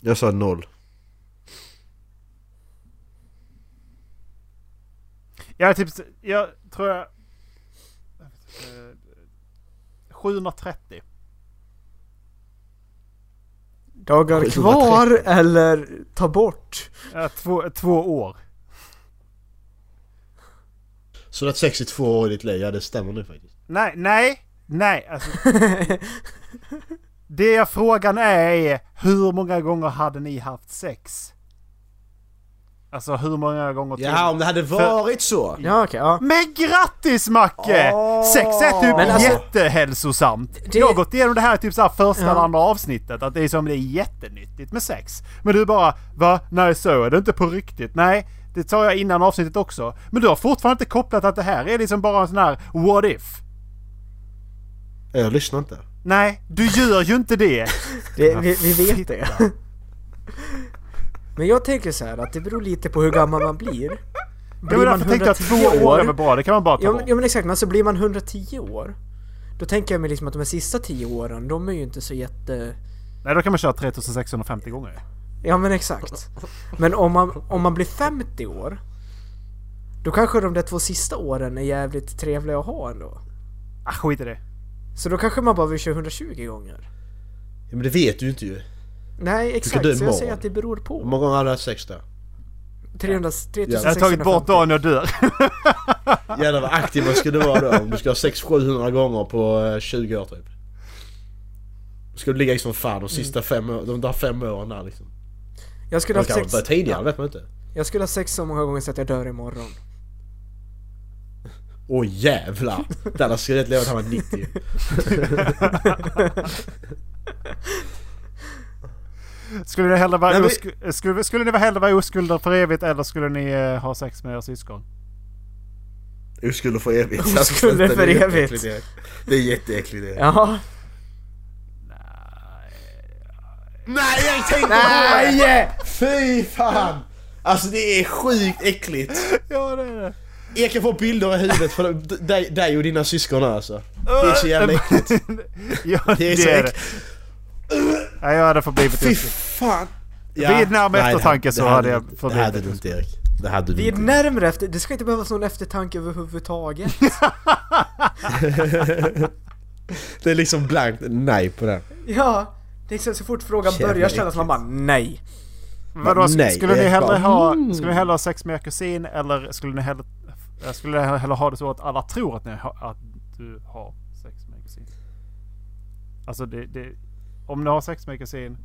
Jag sa noll. Jag är typ... Jag tror jag... eh, 730. Dagar kvar eller ta bort? Ja, två, två år. Så det är 62 år i ditt liv, ja det stämmer nu faktiskt. Nej, nej, nej. [LAUGHS] Alltså, det jag frågan är är hur många gånger hade ni haft sex? Alltså hur många gånger till? Ja, om det hade varit så. Ja okej, ja. Men grattis Macke! Sex är typ Men alltså- jättehälsosamt. Det- Jag har gått igenom det här typ såhär första Ja. eller andra avsnittet. Att det är som det är jättenyttigt med sex. Men du bara va? Nej så är det inte på riktigt. Nej, det sa jag innan avsnittet också. Men du har fortfarande inte kopplat att det här är liksom bara en sån här what if. Jag lyssnar inte. Nej, du gör ju inte det. Vi, Mm. vi, vi vet det. Men jag tänker så här att det beror lite på hur gammal man blir. Jag men Blir man därför tänkte jag att 110 två år är väl bra, det kan man bara ta Ja men, bort. ja men exakt, men alltså blir man 110 år Då tänker jag mig liksom att de här sista 10 åren, de är ju inte så jätte... Nej då kan man köra 3650 gånger. Ja men exakt. Men om man, om man blir 50 år Då kanske de där två sista åren är jävligt trevliga att ha ändå. Ah, skit i det. Så då kanske man bara vill köra 120 gånger. Ja, men det vet du ju inte ju. Nej exakt, du är så jag barn? säger att det beror på. Hur många gånger hade du haft sex då? Jag 300, har 3650. tagit bort dagen jag dör. Jävlar vad aktiv man skulle vara då om du ska ha 600-700 gånger på eh, 20 år typ. Då ska du ligga i som fan de sista fem, år- de där fem åren där liksom. Jag skulle De ha kanske sex, börjar tidigare, vet man inte. jag skulle ha sex så många gånger så att jag dör imorgon. Åh [LAUGHS] jävlar! Denna skulle inte leva tills han var 90. Skulle ni hellre vara, Nej, men- osk- skulle, skulle ni hellre vara oskulder för evigt eller skulle ni eh, ha sex med era syskon? Oskulder för evigt. Oskulder Alltså, för det är evigt. jätteäckligt, Erik. Det är jätteäckligt det. Ja. Nej jag tänkte Nej! Fy fan! Alltså det är sjukt äckligt. Ja det är det. Jag kan få bilder i huvudet för dig, dig och dina syskon här, alltså. Det är så jävla äckligt. ja det är så det. Nej, jag hade förblivit Fy oskuld. fan! Vid närmare nej, det eftertanke så det hade jag du- Det förblivit hade du inte Erik. Det hade du Vi är inte. närmare efter, det ska inte behövas någon eftertanke överhuvudtaget. Det är liksom blankt nej på den. Ja, liksom så fort frågan Jävla börjar ställas man bara nej. Vadå, sk- Nej, skulle, det ni är hellre bara- ha, skulle ni hellre ha sex med er kusin eller skulle ni hellre, eh, skulle ni hellre ha det så att alla tror att, ni ha, att du har sex med er kusin? Alltså det, det om ni har sex med kusin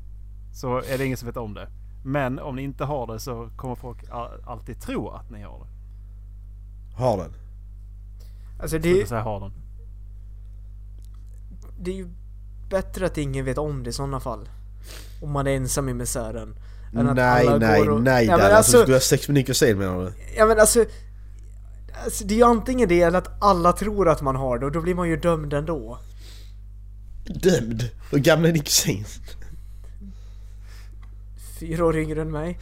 så är det ingen som vet om det. Men om ni inte har det så kommer folk a- alltid tro att ni har det. Har den. Alltså Det det, vill säga har den. det är ju bättre att ingen vet om det i sådana fall. Om man är ensam i misären. än att Nej, alla nej, går och- nej ja, Dan. men Alltså, alltså, du har sex med din kusin menar du? ja, men alltså, alltså, det är ju antingen det eller att alla tror att man har det och då blir man ju dömd ändå. Dömd? Hur gammal är din kusin? Fyra år yngre än mig.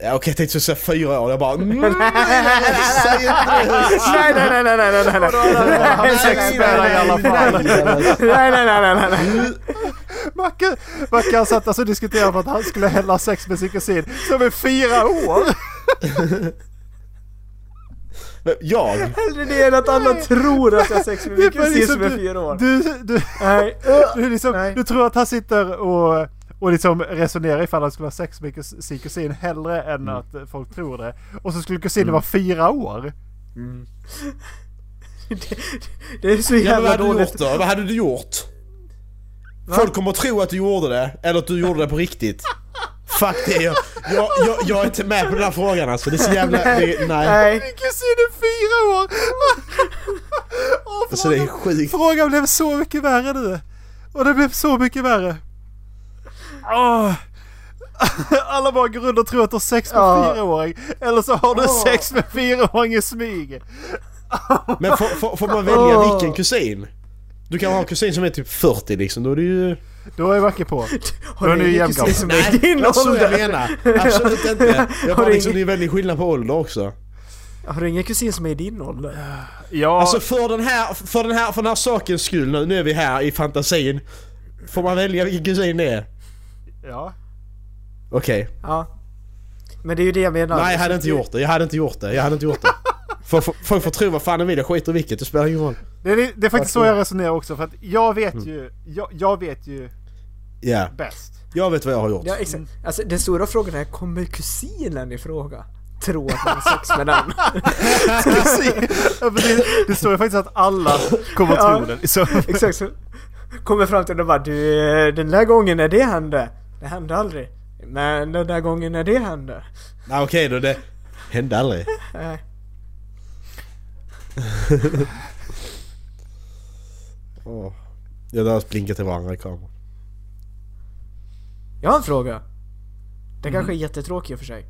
Ja, okej, jag tänkte säga fyra år. Jag bara... Mm, säg inte det! Nej, nej, nej, nej, nej, nej, nej, nej. Sex med dig i alla fall. Nej, nej, nej, nej, nej, nej. Macke, Macke har satt sig och diskuterat för att han skulle hälla sex med sin kusin som är fyra år. Men [LAUGHS] Jag? Hellre det än att alla tror att jag har sex med min kusin som är fyra år. liksom Du, du, Nej. [LAUGHS] du, liksom, Nej. du tror att han sitter och, och liksom resonerar ifall han skulle ha sex med kus- sin kusin hellre än att eh, folk tror det. Och så skulle kusinen vara fyra år. Det, det är så Ja, men vad jävla hade du dåligt. gjort då? Vad hade du gjort? Folk kommer att tro att du gjorde det, eller att du gjorde det på riktigt. Fuck det, jag, jag, jag, jag är inte med på den här frågan alltså. Det är så jävla... Det, nej. Nej. Min kusin är fyra år! [LAUGHS] Åh, Alltså det är frågan- sjukt. Frågan blev så mycket värre nu. Och det blev så mycket värre. Åh. [LAUGHS] Alla bara går runt och tror att du har sex med Ja. fyraåring. Eller så har du sex med fyraåring i smyg. Men får, får, får man välja vilken kusin? Du kan ha en kusin som är typ 40 liksom, då är det ju... Då är Backe på. Har Men du det är ingen jämnt kusin som är i din det är så jag ålder? menar. Absolut inte. Jag bara Har du liksom, det ingen- är väldigt skillnad på ålder också. Har du ingen kusin som är i din ålder? Ja, Alltså för den här, för den här, för den här sakens skull nu, nu är vi här i fantasin. Får man välja vilken kusin det är? ja. Okej. Ja. Men det är ju det jag menar. Nej jag hade inte gjort det, jag hade inte gjort det, jag hade inte gjort det. Folk får- folk får tro vad fan de vill, jag skiter i vilket, det spelar ingen roll. Det är, det är faktiskt så jag resonerar också. För att jag vet ju, jag, jag vet ju Ja, bäst. [LAUGHS] jag vet vad jag har gjort. Ja, exakt. Alltså den stora frågan är, kommer kusinen i fråga? Tro att man har sex med den? [LAUGHS] Kusin. Ja, men det, det står ju faktiskt att alla kommer att tro Ja. det. Så, [LAUGHS] Exakt så kommer fram till den och bara du, eh, den där gången när det hände, det hände aldrig. Men den där gången när det hände. Nej Ah, okej då, det hände aldrig. Eh, Åh. Jag där blinkar till varandra i kameran. jag har en fråga. Den kanske är Mm. jättetråkig i och för sig.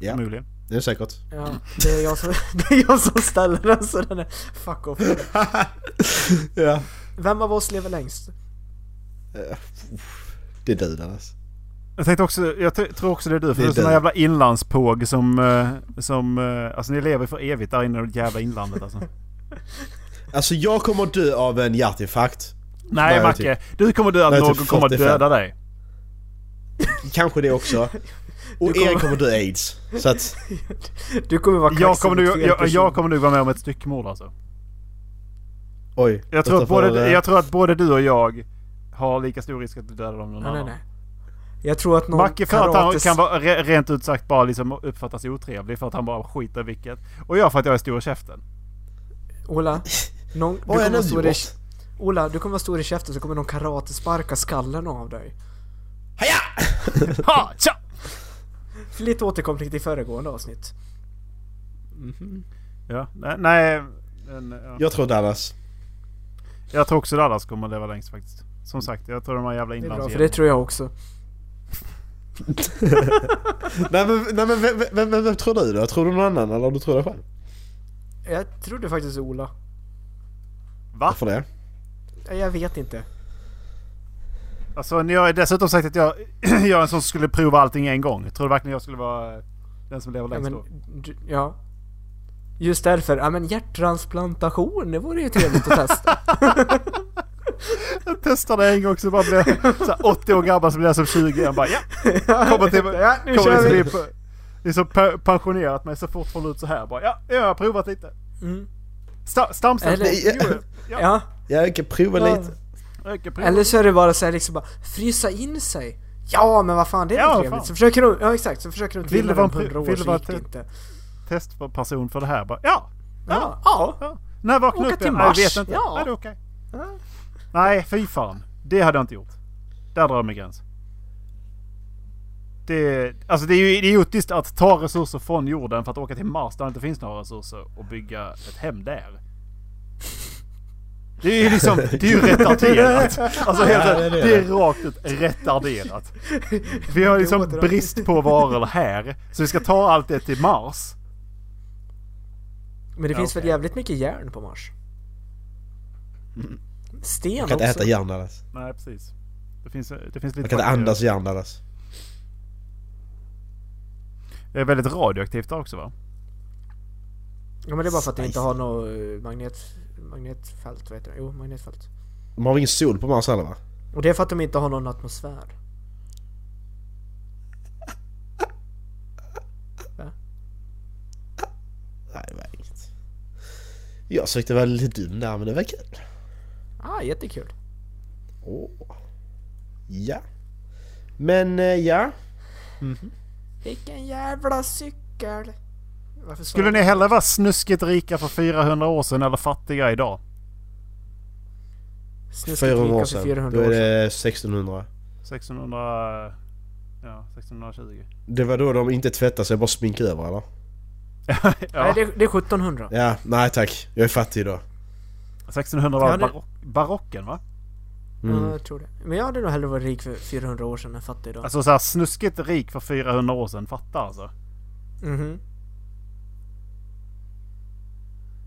Ja, Förmodligen. det är säkert. Ja, det är jag som, [LAUGHS] det är jag som ställer den så den är [LAUGHS] fuck off. Ja. Vem av oss lever längst? Det är du Dallas. Jag tänkte också, jag t- tror också det är du, för det Det är är såna du. jävla inlandspåg som, eh, som, eh, alltså ni lever för evigt där inne i det jävla inlandet [LAUGHS] alltså. Alltså jag kommer att dö av en hjärtinfarkt. Nej jag Macke, du kommer dö att Nej, någon typ kommer att 45. döda dig. Kanske det också. Och kommer- Erik kommer att dö aids. Så att, Du kommer vara Jag kaxig kommer, mot nu, fel jag, person. jag kommer nu vara med om ett styckmord alltså. oj. Jag tror, att detta får, både, eh, jag tror att både du och jag har lika stor risk att bli dödade av någon Nej, nej, annan. nej. Jag tror att någon Macke för att han karates- kan vara re- rent ut sagt bara liksom uppfattas otrevlig för att han bara skiter i vilket. Och jag för att jag är stor i [LAUGHS] käften. Ola, någon, du har jag kommer vara nu stor i... gjort? Ola, du kommer vara stor i käften så kommer någon karatesparka skallen av dig. Haja! Ha! Tja! För Lite återkoppling till föregående avsnitt. Ja, nej. nej men, ja. Jag tror Dallas. Jag tror också Dallas kommer att leva längst faktiskt. Som sagt, jag tror de här jävla Det är bra, inlandsgenerna. för det tror jag också. Nej men, nej, men vem, vem, vem, vem tror du då? Tror du någon annan eller du tror dig själv? Jag trodde faktiskt Ola. Va? Varför det? Nej, Jag vet inte. Alltså ni har ju dessutom sagt att jag, [CLEARS THROAT] jag är en som skulle prova allting en gång. Tror du verkligen jag skulle vara eh, den som lever Ja, längst men, då? du, ja. Just därför, ja men hjärttransplantation, det vore ju trevligt att testa. Jag testade en gång så bara blev [LAUGHS] jag så här 80 år gammal så blev jag som 20 igen. Bara ja, kommer till... ja, nu kommer kör till vi! bli, det är så pe- pensionerat mig så fort från ut så här bara ja, jag har provat lite. Mm. Sta- Stamcells... Eller- Jo, [LAUGHS] Ja, Ja, Jag kan prova Ja. lite. jag kan prova. eller så är det bara så här liksom bara, frysa in sig. Ja men vad fan det är Ja, ja, vad trevligt. fan. Så försöker de, ja exakt, så försöker de Vill trilla det vara den på en pri- 100 år vill så det vara gick det ett- inte. Testperson för det här bara ja. Ja, ja. ja. När vaknade Åka upp till igen? Nej, Jag Mars. vet inte. Ja. Nej, det är okej. Nej, fy fan. Det hade jag inte gjort. Där drar jag min gräns. Det, alltså det är ju idiotiskt att ta resurser från jorden för att åka till Mars där det inte finns några resurser och bygga ett hem där. Det är ju liksom, det är ju retarderat. Alltså helt Ja, det är det. ärligt, det är rakt ut retarderat. Vi har liksom låter det. brist på varor här, så vi ska ta allt det till Mars. Men det finns väl jävligt mycket järn på Mars? Mm. Sten Man kan inte också. äta järn Dallas. Nej precis. Det finns, det finns lite... Man kan inte bakterier. andas järn Dallas. Det är väldigt radioaktivt också va? Ja men det är bara för att det inte Spicy. har något eh, magnet, magnetfält, vad heter det? Jo, magnetfält. Man har ingen sol på Mars heller va? Och det är för att de inte har någon atmosfär. Nej, det var inget. Jag försökte vara lite dum där men det var kul. Ah, jättekul. Åh. Ja. Men eh, ja. Vilken jävla cykel! Varför sa Skulle jag- ni hellre vara snuskigt rika för 400 år sedan eller fattiga idag? Snuskigt 400 år rika sedan. för Då 400 är år sedan. det 1600. 600... Ja, 1620. Det var då de inte tvättade sig, bara sminkade över eller? ja, Nej, det, är- det är 1700. Ja, nej tack. Jag är fattig idag. 1600 var Ja, det- barock, barocken va? Mm. Ja, jag tror det. Men jag hade nog hellre varit rik för 400 år sedan än fattig idag. Alltså såhär snuskigt rik för 400 år sedan, fatta alltså. Mhm.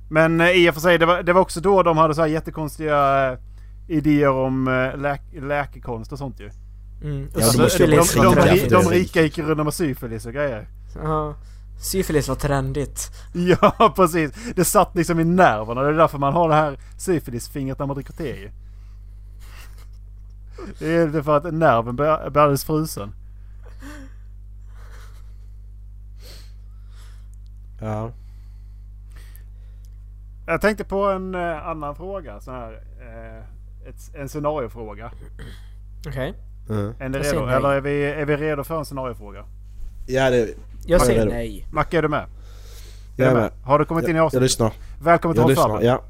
Men eh, i och för sig, det var, det var också då de hade så här jättekonstiga eh, idéer om eh, läk, läkekonst och sånt ju. Alltså, Mm. Och Ja, då måste jag de, de, syfilis bara skriva var de, till ri- dig. trendigt. de rika gick runt med syfilis och grejer. Ja. Syfilis var trendigt. [LAUGHS] Ja, precis. Det satt liksom i nerverna. Det är därför man har det här syfilisfingret när man dricker te ju. Det är inte för att nerven blir blir alldeles frusen. Ja. Jag tänkte på en eh, annan fråga. Sån här, eh, ett, en scenariofråga. Okej. Mm. Är ni Jag säger redo? nej. Eller är vi, är vi redo för en scenariofråga? Ja, det... Jag Vad är säger det då? nej. Macke, är du med? Jag är med. Har du kommit in i Jag avsnittet? lyssnar. Välkommen till Jag lyssnar, Hållflabben. ja.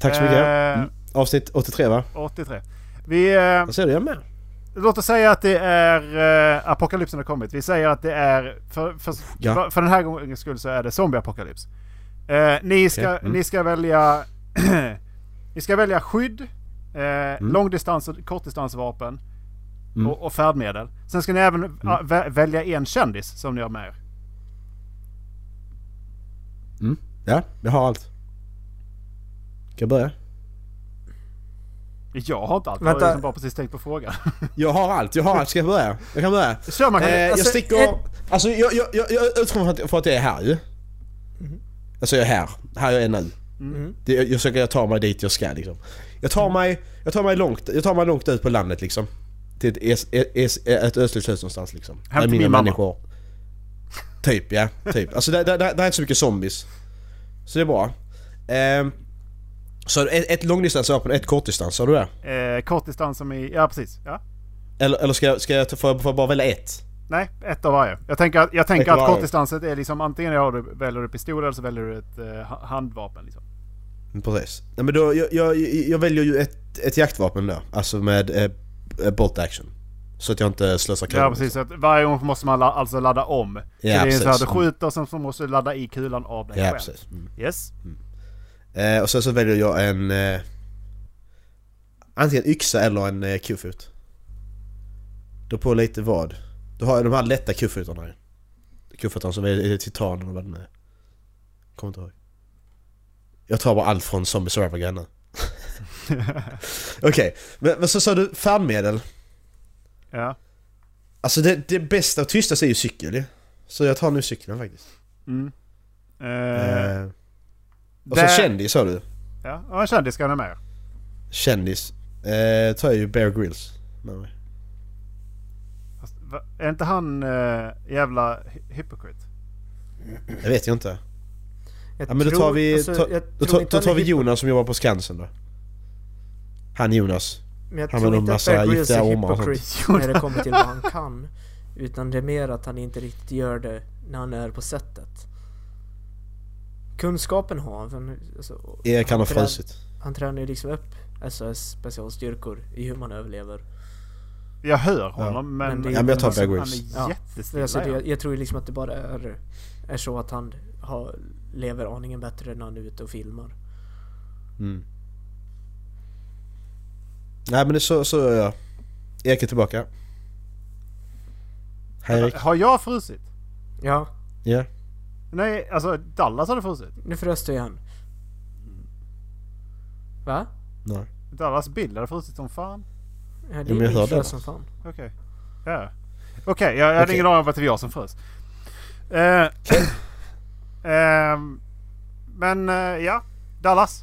Tack så mycket. Eh. Mm. Avsnitt 83 va? 83. Vi, eh, Jag ser det, jag med. Låt oss säga att det är eh, apokalypsen har kommit. Vi säger att det är, för, för, Ja. för, för den här gången skull så är det zombieapokalyps. Eh, ni, ska, Okej, mm. ni ska välja [CLEARS THROAT] Ni ska välja skydd, eh, långdistans och kortdistansvapen Mm. och, och färdmedel. Sen ska ni även ah, vä- välja en kändis som ni har med er. Ja, jag har allt. Ska jag börja? Jag har inte allt, jag Vänta. har liksom bara precis tänkt på frågan. [LAUGHS] Jag har allt, jag har allt. Ska jag börja? Jag kan börja. Kör man, Eh, jag alltså, sticker... ett- Alltså jag, jag, jag, jag utgår från att, för att jag är här ju. Alltså jag är här. Här jag är nu. Det, jag, jag, försöker, jag tar mig dit jag ska liksom. Jag tar mig, jag tar mig, långt, jag tar mig långt ut på landet liksom. Till ett, es, es, ett ödsligt hus någonstans liksom. Hem till Där min mina mamma. människor- Typ ja, typ. Alltså där, där, där, där är inte så mycket zombies. Så det är bra. Ehm, så ett, ett långdistansvapen, ett kortdistans, sa du det? Eh, kortdistans som i, ja precis. Ja. Eller, eller ska, jag- ska jag, ta- får jag, får jag bara välja ett? Nej, ett av varje. Jag tänker, att- jag tänker Ett av att varje. kortdistanset är liksom antingen har du, väljer du pistol eller så väljer du ett eh, ha- handvapen. Liksom. Mm, Precis. Nej, men då, jag, jag, jag väljer ju ett, ett jaktvapen då. Alltså med eh, eh, bolt action. Så att jag inte slösar Ja precis, så att varje gång måste man la, alltså ladda om. så det är liksom. precis. så här, du Mm. skjuter och sen så måste du ladda i kulan av dig Ja, själv. precis. Mm. Yes. Eh, och sen så väljer jag en... Eh, antingen yxa eller en eh, kofot. Då på lite vad? Du har de här lätta kofotarna ju. Kofotarna som är, är titan eller vad den är. Kommer inte ihåg. Jag tar bara allt från Zombie [LAUGHS] Survivor grejerna. Okej, men, men så sa du färdmedel. Ja. Alltså det, det bästa och tystaste är ju cykel ju. Så jag tar nu cykeln faktiskt. Eh, Eh, och där- så kändis sa du. ja. Och en kändis ska ni ha med er. Kändis. Eh, tar jag ju Bear Grylls med mig. Fast, va, är inte han eh, jävla hy- hypocrite? Det vet jag inte. Jag Ja, men då tror- tar vi, alltså, ta, jag då, tror ta, inte då tar han vi är hip- Jonas som jobbar på Skansen då. Han Jonas. Men jag Han tror med inte de att massa Bear Grylls giftiga är ormar och sånt. hypocrit [LAUGHS] när det kommer till vad han kan. Utan det är mer att han inte riktigt gör det när han är på sättet. Kunskapen har han, för han, alltså, Erik han har trän- frusit. han tränar ju liksom upp SOS specialstyrkor i hur man överlever. Jag hör honom men... men det- Ja, men jag tar Bear han Grylls. är Ja. jättestilla. Alltså, det, ja. jag tror liksom att det bara är, är så att han har, lever aningen bättre när han är ute och filmar. Nej men det är så, så ja. Erik är tillbaka. Hej Erik. Har jag frusit? Ja, Ja. Nej, alltså Dallas hade frusit. nu frös du igen. Va? Nej. Dallas bild hade frusit som fan. Ja, men jag din hörde frös det. som fan. Okej. Ja. Okej, jag, jag hade Okej. ingen aning om att det var jag som frös. Eh, [CLEARS THROAT] ehm, men eh, ja, Dallas.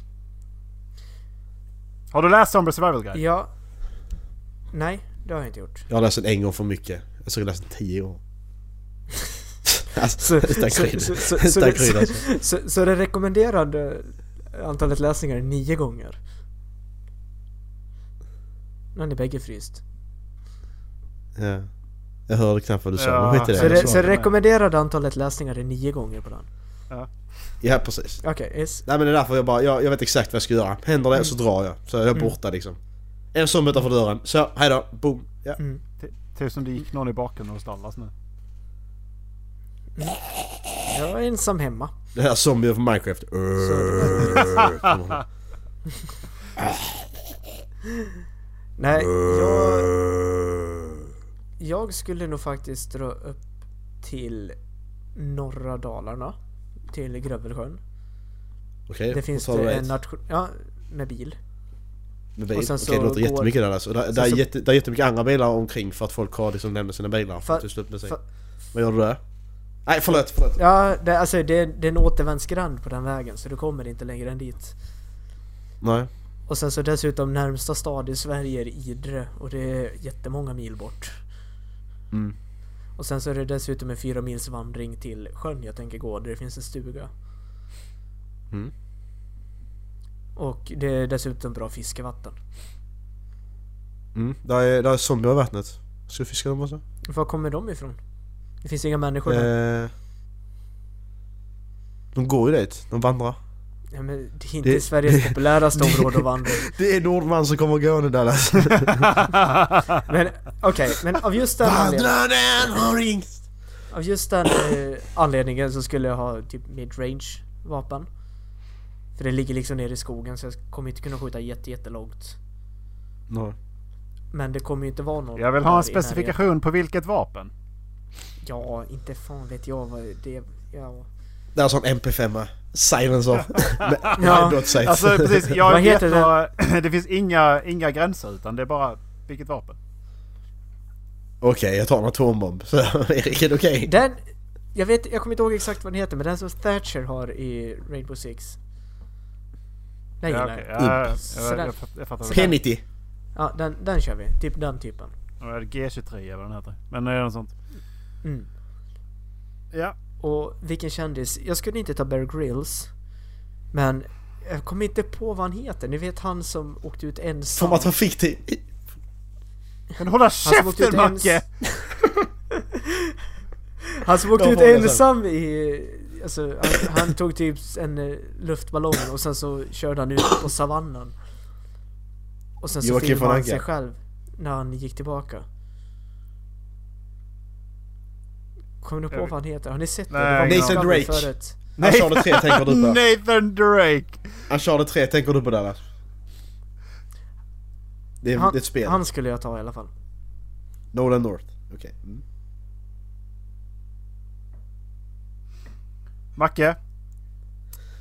Har du läst Zombie Survival Guide? Ja. Nej, det har jag inte [LAUGHS] gjort. Jag har läst den en gång för mycket. Jag skulle läst den tio gånger. alltså, Så, utan så- krydd. så- så- så Utan det- krydd alltså. så- så- Så det rekommenderade antalet läsningar är nio gånger? Nu har ni bägge fryst. Ja. Jag hörde knappt vad du sa, Ja. men skit i Så Så det. jag det, såg så det det med. rekommenderade antalet läsningar är nio gånger på den? Ja precis. Okej, is. Nej men det är därför jag bara, jag, jag vet exakt vad jag ska göra. Händer det så drar jag. Så är Mm. jag borta liksom. En zombie utanför dörren. Så, hejdå. Boom. Ja. T- Typ som det gick någon i bakgrunden hos Dallas nu. Jag är ensam hemma. Det här zombien från Minecraft. Urr, kommer han. [LAUGHS] Nej, jag... Jag skulle nog faktiskt dra upp till norra Dalarna. Till Grövelsjön. Okej, Det finns då tar du det det. en nation... Ja, med bil. Med bil. och sen Okej så det låter går- jättemycket där alltså. Där, sen där, är så- jätte, där är jättemycket andra bilar omkring för att folk har liksom lämnat sina bilar för Fa- att tysta upp med sig. fa- Vad gör du där? Nej förlåt, förlåt. Ja, det, alltså det, det är en återvändsgränd på den vägen så du kommer inte längre än dit. Nej. Och sen så dessutom närmsta stad i Sverige är Idre och det är jättemånga mil bort. Mm. Och sen så är det dessutom en fyra mils vandring till sjön jag tänker gå där det finns en stuga. Mm. Och det är dessutom bra fiskevatten. Mm. Där är, där är zombier i vattnet. Ska du fiska dem också? Var kommer de ifrån? Det finns inga människor där. Eh, de går ju dit, de vandrar. Ja, men det är inte det- Sveriges [LAUGHS] populäraste område att vandra i. Det är Nordman som kommer gående där [LAUGHS] alltså. Men okej, men av just den anledningen. Vandraren har ringt! Av just den eh, anledningen så skulle jag ha typ midrange vapen. För det ligger liksom nere i skogen så jag kommer inte kunna skjuta jätte, jättelångt. Nej. Men det kommer ju inte vara någon Jag vill ha en där i närheten. specifikation på vilket [LAUGHS] vapen. Ja, inte fan vet jag vad det... Ja. Där sa en MP5. Silencer. Med Ja, ja, sight. Alltså precis, jag Vad vet heter några, [CLEARS THROAT] det? finns inga, inga gränser utan det är bara vilket vapen. Okej, jag tar en atombomb. Så [LAUGHS] Erik, är det okej? Den... Jag vet, jag kommer inte ihåg exakt vad den heter men den som Thatcher har i Rainbow Six. Ja, Den gillar okej, jag. ja, ja, Sådär. jag, jag, fatt- jag fattar. vad det är. Penity. Ja, den, den kör vi. Typ den typen. Ja, G23 eller vad den heter. Men det är något sånt. Mm. Ja. Och vilken kändis? Jag skulle inte ta Bear Grylls. Men jag kommer inte på vad han heter. Ni vet han som åkte ut ensam. Som att han fick till... Kan du hålla som åkte käften ut ens- Macke! Han som åkte Jag ut håller sen. ensam i... Alltså, han, han tog typ en eh, luftballong och sen så körde han ut på savannen. Och sen så Joakim filmade von han Anka. sig själv när han gick tillbaka. Kommer ni på Jag vad vet- han heter? Har ni sett det? Nej, det? var ingen Nathan aning. Drake. Nathan Förut. Drake. Uncharted 3 tänker du på. Nathan Drake! Uncharted 3 tänker du på Dallas? Det är, det är ett spel. han skulle jag ta i alla fall. Nolan North. Okej. Mm. Macke?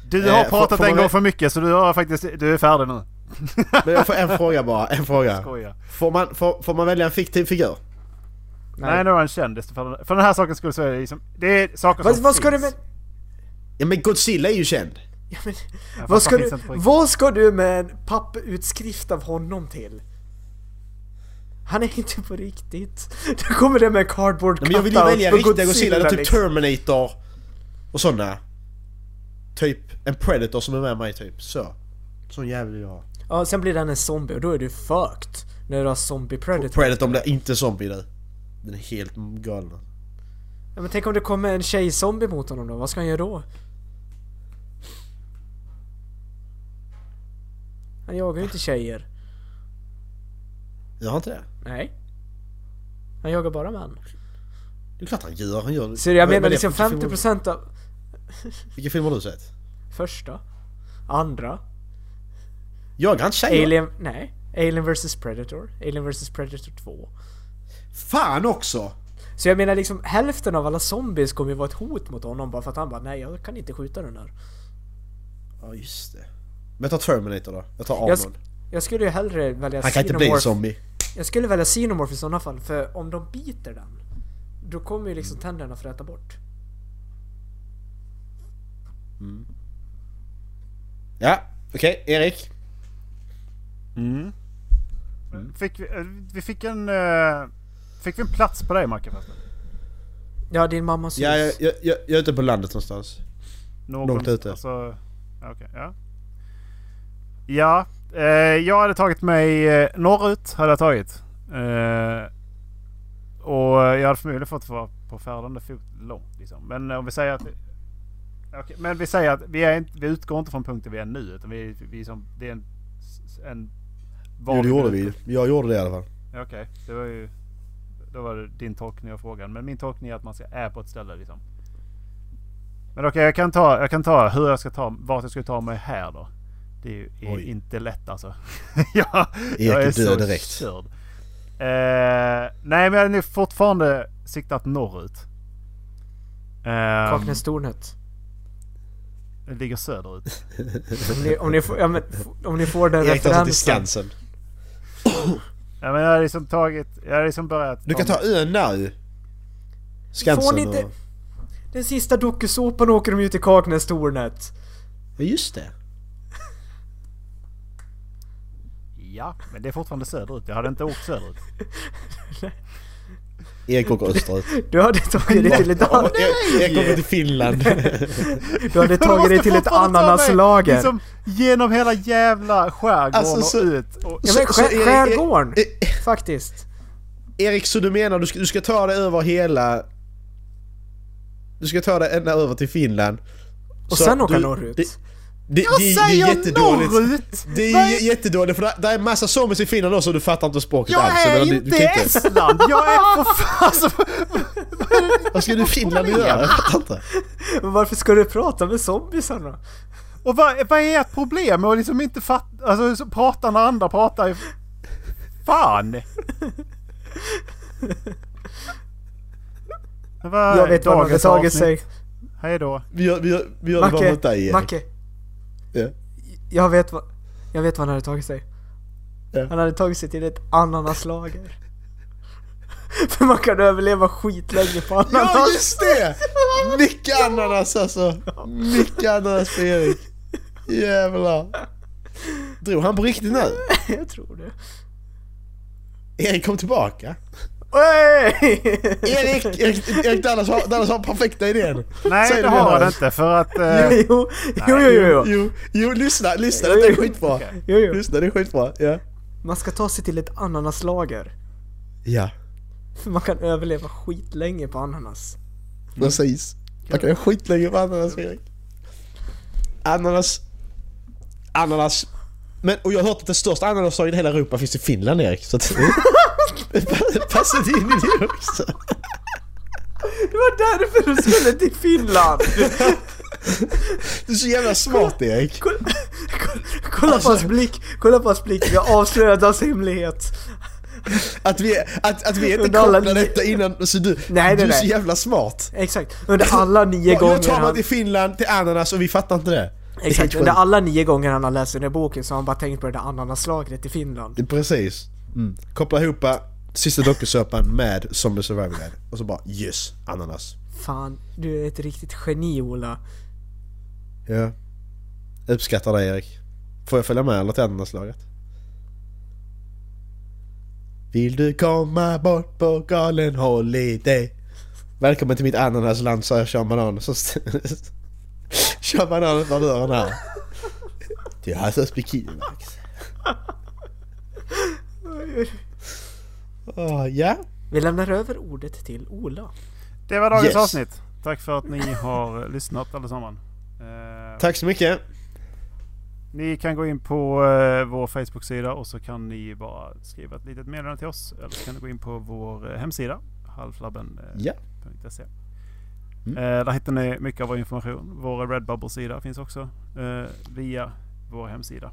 Du Eh, har får- pratat får man en gång vä- för mycket så du har faktiskt, du är färdig nu. Men jag får en fråga bara. En fråga. Skoja. Får man, får, får man välja en fiktiv figur? Nej, det var en kändis. För, för den här saken skulle så är det liksom, det är saker Vad, som vad ska du finns. med... Ja men Godzilla är ju känd. Ja, men, fast vad, ska han du, finns inte på riktigt. vad ska du med en papputskrift av honom till? Han är inte på riktigt. Du kommer det med en cardboard Nej, men jag vill cutout ju välja på riktiga Godzilla, eller typ liksom. Terminator och sådana. Typ en Predator som är med mig typ. Så. Sån jävel vill jag ha. Ja, sen blir den en zombie och då är du fucked. När du har zombie predator. Predator blir inte zombie nu. Den är helt galen. ja, men tänk om det kommer en tjej-zombie mot honom då? Vad ska han göra då? Han jagar ju inte tjejer. Jag har inte det. Nej. Han jagar bara män. Det är klart han gör, han gör det. Så jag Vad- menar vad är det liksom för film har du- 50% av Vilken film har du sett? första, andra, Jagar han tjejer? Alien, nej. Alien vs Predator, Alien vs Predator 2. Fan också! Så jag menar liksom hälften av alla zombies kommer ju vara ett hot mot honom bara för att han bara nej jag kan inte skjuta den där. Ja just det. Men ta Terminator då. Jag tar Jag, Arnold. sk- jag skulle ju hellre välja Han kan inte bli en Xenomorph. zombie. Jag skulle välja Xenomorph i sådana fall för om de biter den då kommer ju liksom tänderna fräta bort. Ja, okej. Erik. Fick vi, eh, vi fick en... eh, fick vi en plats på dig Macke förresten? Ja din mammas Ja, jag, hus. jag, jag, jag är ute på landet någonstans. Någon, Långt ute. Alltså, ja, okej, ja. Ja, eh, jag hade tagit mig eh, norrut. Hade jag tagit. Eh, och jag hade förmodligen fått vara på färdande fot långt. Liksom. Men om vi säger att... Okej, men vi säger att vi, är inte, vi utgår inte från punkten vi är nu. Utan vi, vi som, det är en... en Jo, det vanlig gjorde minut. vi. Jag gjorde det i alla fall. Ja, Okej, det var ju... Då var det din tolkning av frågan. Men min tolkning är att man ska är på ett ställe liksom. Men okej, jag, kan ta, jag kan ta hur jag ska ta, vart jag ska ta mig här då. Det är ju är Oj. inte lätt alltså. [LAUGHS] jag, Erik jag är är död så direkt. körd. Eh, nej, men jag hade nog fortfarande siktat norrut. Ehm, Kaknäs Stornhet. Eh, det ligger söderut. Om ni, om ni, får, ja, men, f- om ni får den Erik tar sig till referensen. Skansen. Ja, men jag har liksom tagit... Jag har liksom börjat... Du kan ta ön nu. Skansen Får ni inte... och... Den sista dokusåpan åker de ju till Kaknäs Stornhet. Ja just det. Ja, men det är fortfarande söderut. Jag hade inte åkt söderut. Erik åker österut. Du hade tagit dig till ett annat... Erik- Erik åker till Finland. Du [LAUGHS] hade Men du tagit dig måste till ett fortfarande ta mig ananaslager. Liksom genom hela jävla skärgården Alltså, så- och ut. Och, Ja men Så- så skär, Erik- skärgården! Erik- Faktiskt. Erik, så du menar du ska, du ska ta dig över hela... Du ska ta dig ända över till Finland. Och Så sen åka du- norrut. Det, det, jag det, det är jättedåligt. Det är j- jättedåligt för det, det är en massa zombies i Finland också och du fattar inte språket Jag alls. Jag är menar, du- du inte i kan inte- Estland! Jag är på fan... Alltså, Vad ska du i Finland göra? Jag fattar inte. Men varför ska du prata med zombiesarna? och vad, vad är ert problem med att liksom inte fatta... Alltså så prata när andra pratar. i- Fan! Det var Jag vet vad de hade dagens tagit sig. avsnitt. Hej då. Vi gör, vi gör, vi gör det bara mot dig Macke, Erik. Macke. Ja. Jag vet vad... Jag vet vad han hade tagit sig. Ja. Han hade tagit sig till ett ananaslager. [LAUGHS] För man kan överleva skitlänge på ananas. Ja just det! Mycket ananas alltså. Mycket ananas för Erik. Jävlar. Drog han på riktigt nu? [LAUGHS] Jag tror det. Erik kom tillbaka. Oj! Erik, [LAUGHS] Erik, Erik Dallas, har, Dallas har perfekta idén. Nej Säg det nu, har han Dallas. inte för att... eh, jo, jo, jo, jo, jo. Jo, jo, lyssna, lyssna, det är Jo, jo. skitbra. jo, jo. Lyssna, det är skitbra. Ja. Man ska ta sig till ett ananaslager. Ja, För man kan överleva skitlänge på ananas. precis. Man kan ju skitlänge på ananas Erik. Ananas. Ananas. Men, och jag har hört att det största ananasdagen i hela Europa finns i Finland Erik. Så att, [LAUGHS] det passar in i det också. Det var därför du skulle till Finland! Du är så jävla smart Erik. Kolla, kolla, kolla på Alltså- hans blick, kolla på hans blick, jag avslöjade hans hemlighet. Att vi, att, att vi inte Under alla kopplade ni- detta innan. Så du, nej, du är så nej. jävla smart. Exakt, under alla nio Nu gånger tar man till han, Finland, till ananas och vi fattar inte det. Det är helt exakt, under sjukt. alla nio gånger han har läst den här boken så har han bara tänkt på det där ananaslagret i Finland. Precis. Mm. Koppla ihop sista dokusåpan med Zombie Survival Guide. Och så bara yes, ananas. Fan, du är ett riktigt geni Ola. Ja. Uppskattar dig Erik. Får jag följa med eller till ananaslaget? Vill du komma bort på galen holiday? Välkommen till mitt ananasland sa jag Sean Banan. Så [LAUGHS] st- Sean Banan öppnar dörren här. Till Hassas bikinimax. Åh, Ah, ja. Vi lämnar över ordet till Ola. Det var dagens Yes. avsnitt. Tack för att ni har lyssnat allesammans. Eh, Tack så mycket. Ni kan gå in på eh, vår Facebook-sida och så kan ni bara skriva ett litet meddelande till oss. Eller så kan ni gå in på vår eh, hemsida, halflabben.se. Ja. Mm. Eh, där hittar ni mycket av vår information. Vår Redbubble-sida finns också eh, via vår hemsida.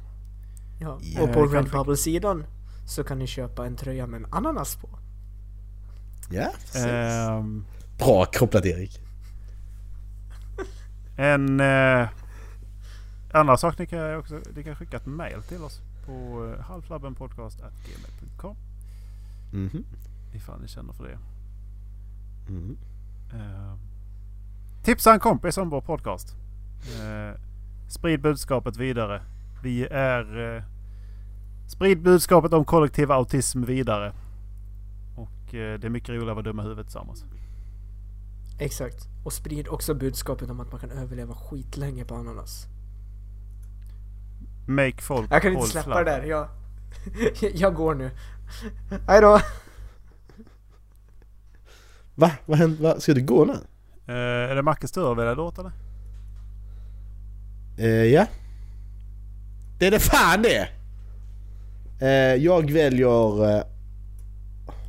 Ja. Ja. Och på Eh, Redbubble-sidan så kan ni köpa en tröja med en ananas på. Ja, precis. Ehm, Bra kopplat Erik. en eh, annan sak ni kan också, ni kan skicka ett mail till oss på eh, halflabbenpodcast.gmail.com Mhm. ifall ni känner för det. Mhm. Eh, tipsa en kompis om vår podcast. Eh, sprid budskapet vidare. Vi är... Eh, sprid budskapet om kollektiv autism vidare. Och eh, det är mycket roligare att vara dumma i huvudet tillsammans. Exakt. Och sprid också budskapet om att man kan överleva skitlänge på ananas. Make folk Jag kan inte håll släppa det flabben. där. Jag, [LAUGHS] jag går nu. Hejdå! Va? Vad hände? Va? Ska du gå nu? Eh, är det Mackes tur att välja låt eller? Eh, ja. Det är det fan det! Eh, jag väljer... eh,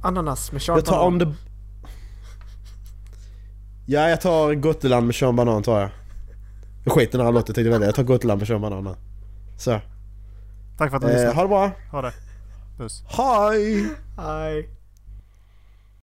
Ananas med jag tar chartan. om det... Ja, jag tar Gotland med Sean Banan tar jag. Jag skiter i den här låten tänkte jag välja. Jag tar Gotland med Sean Banan nu. Så. Tack för att du Eh, lyssnade. ha det bra. Ha det. Puss. Hej! Hej!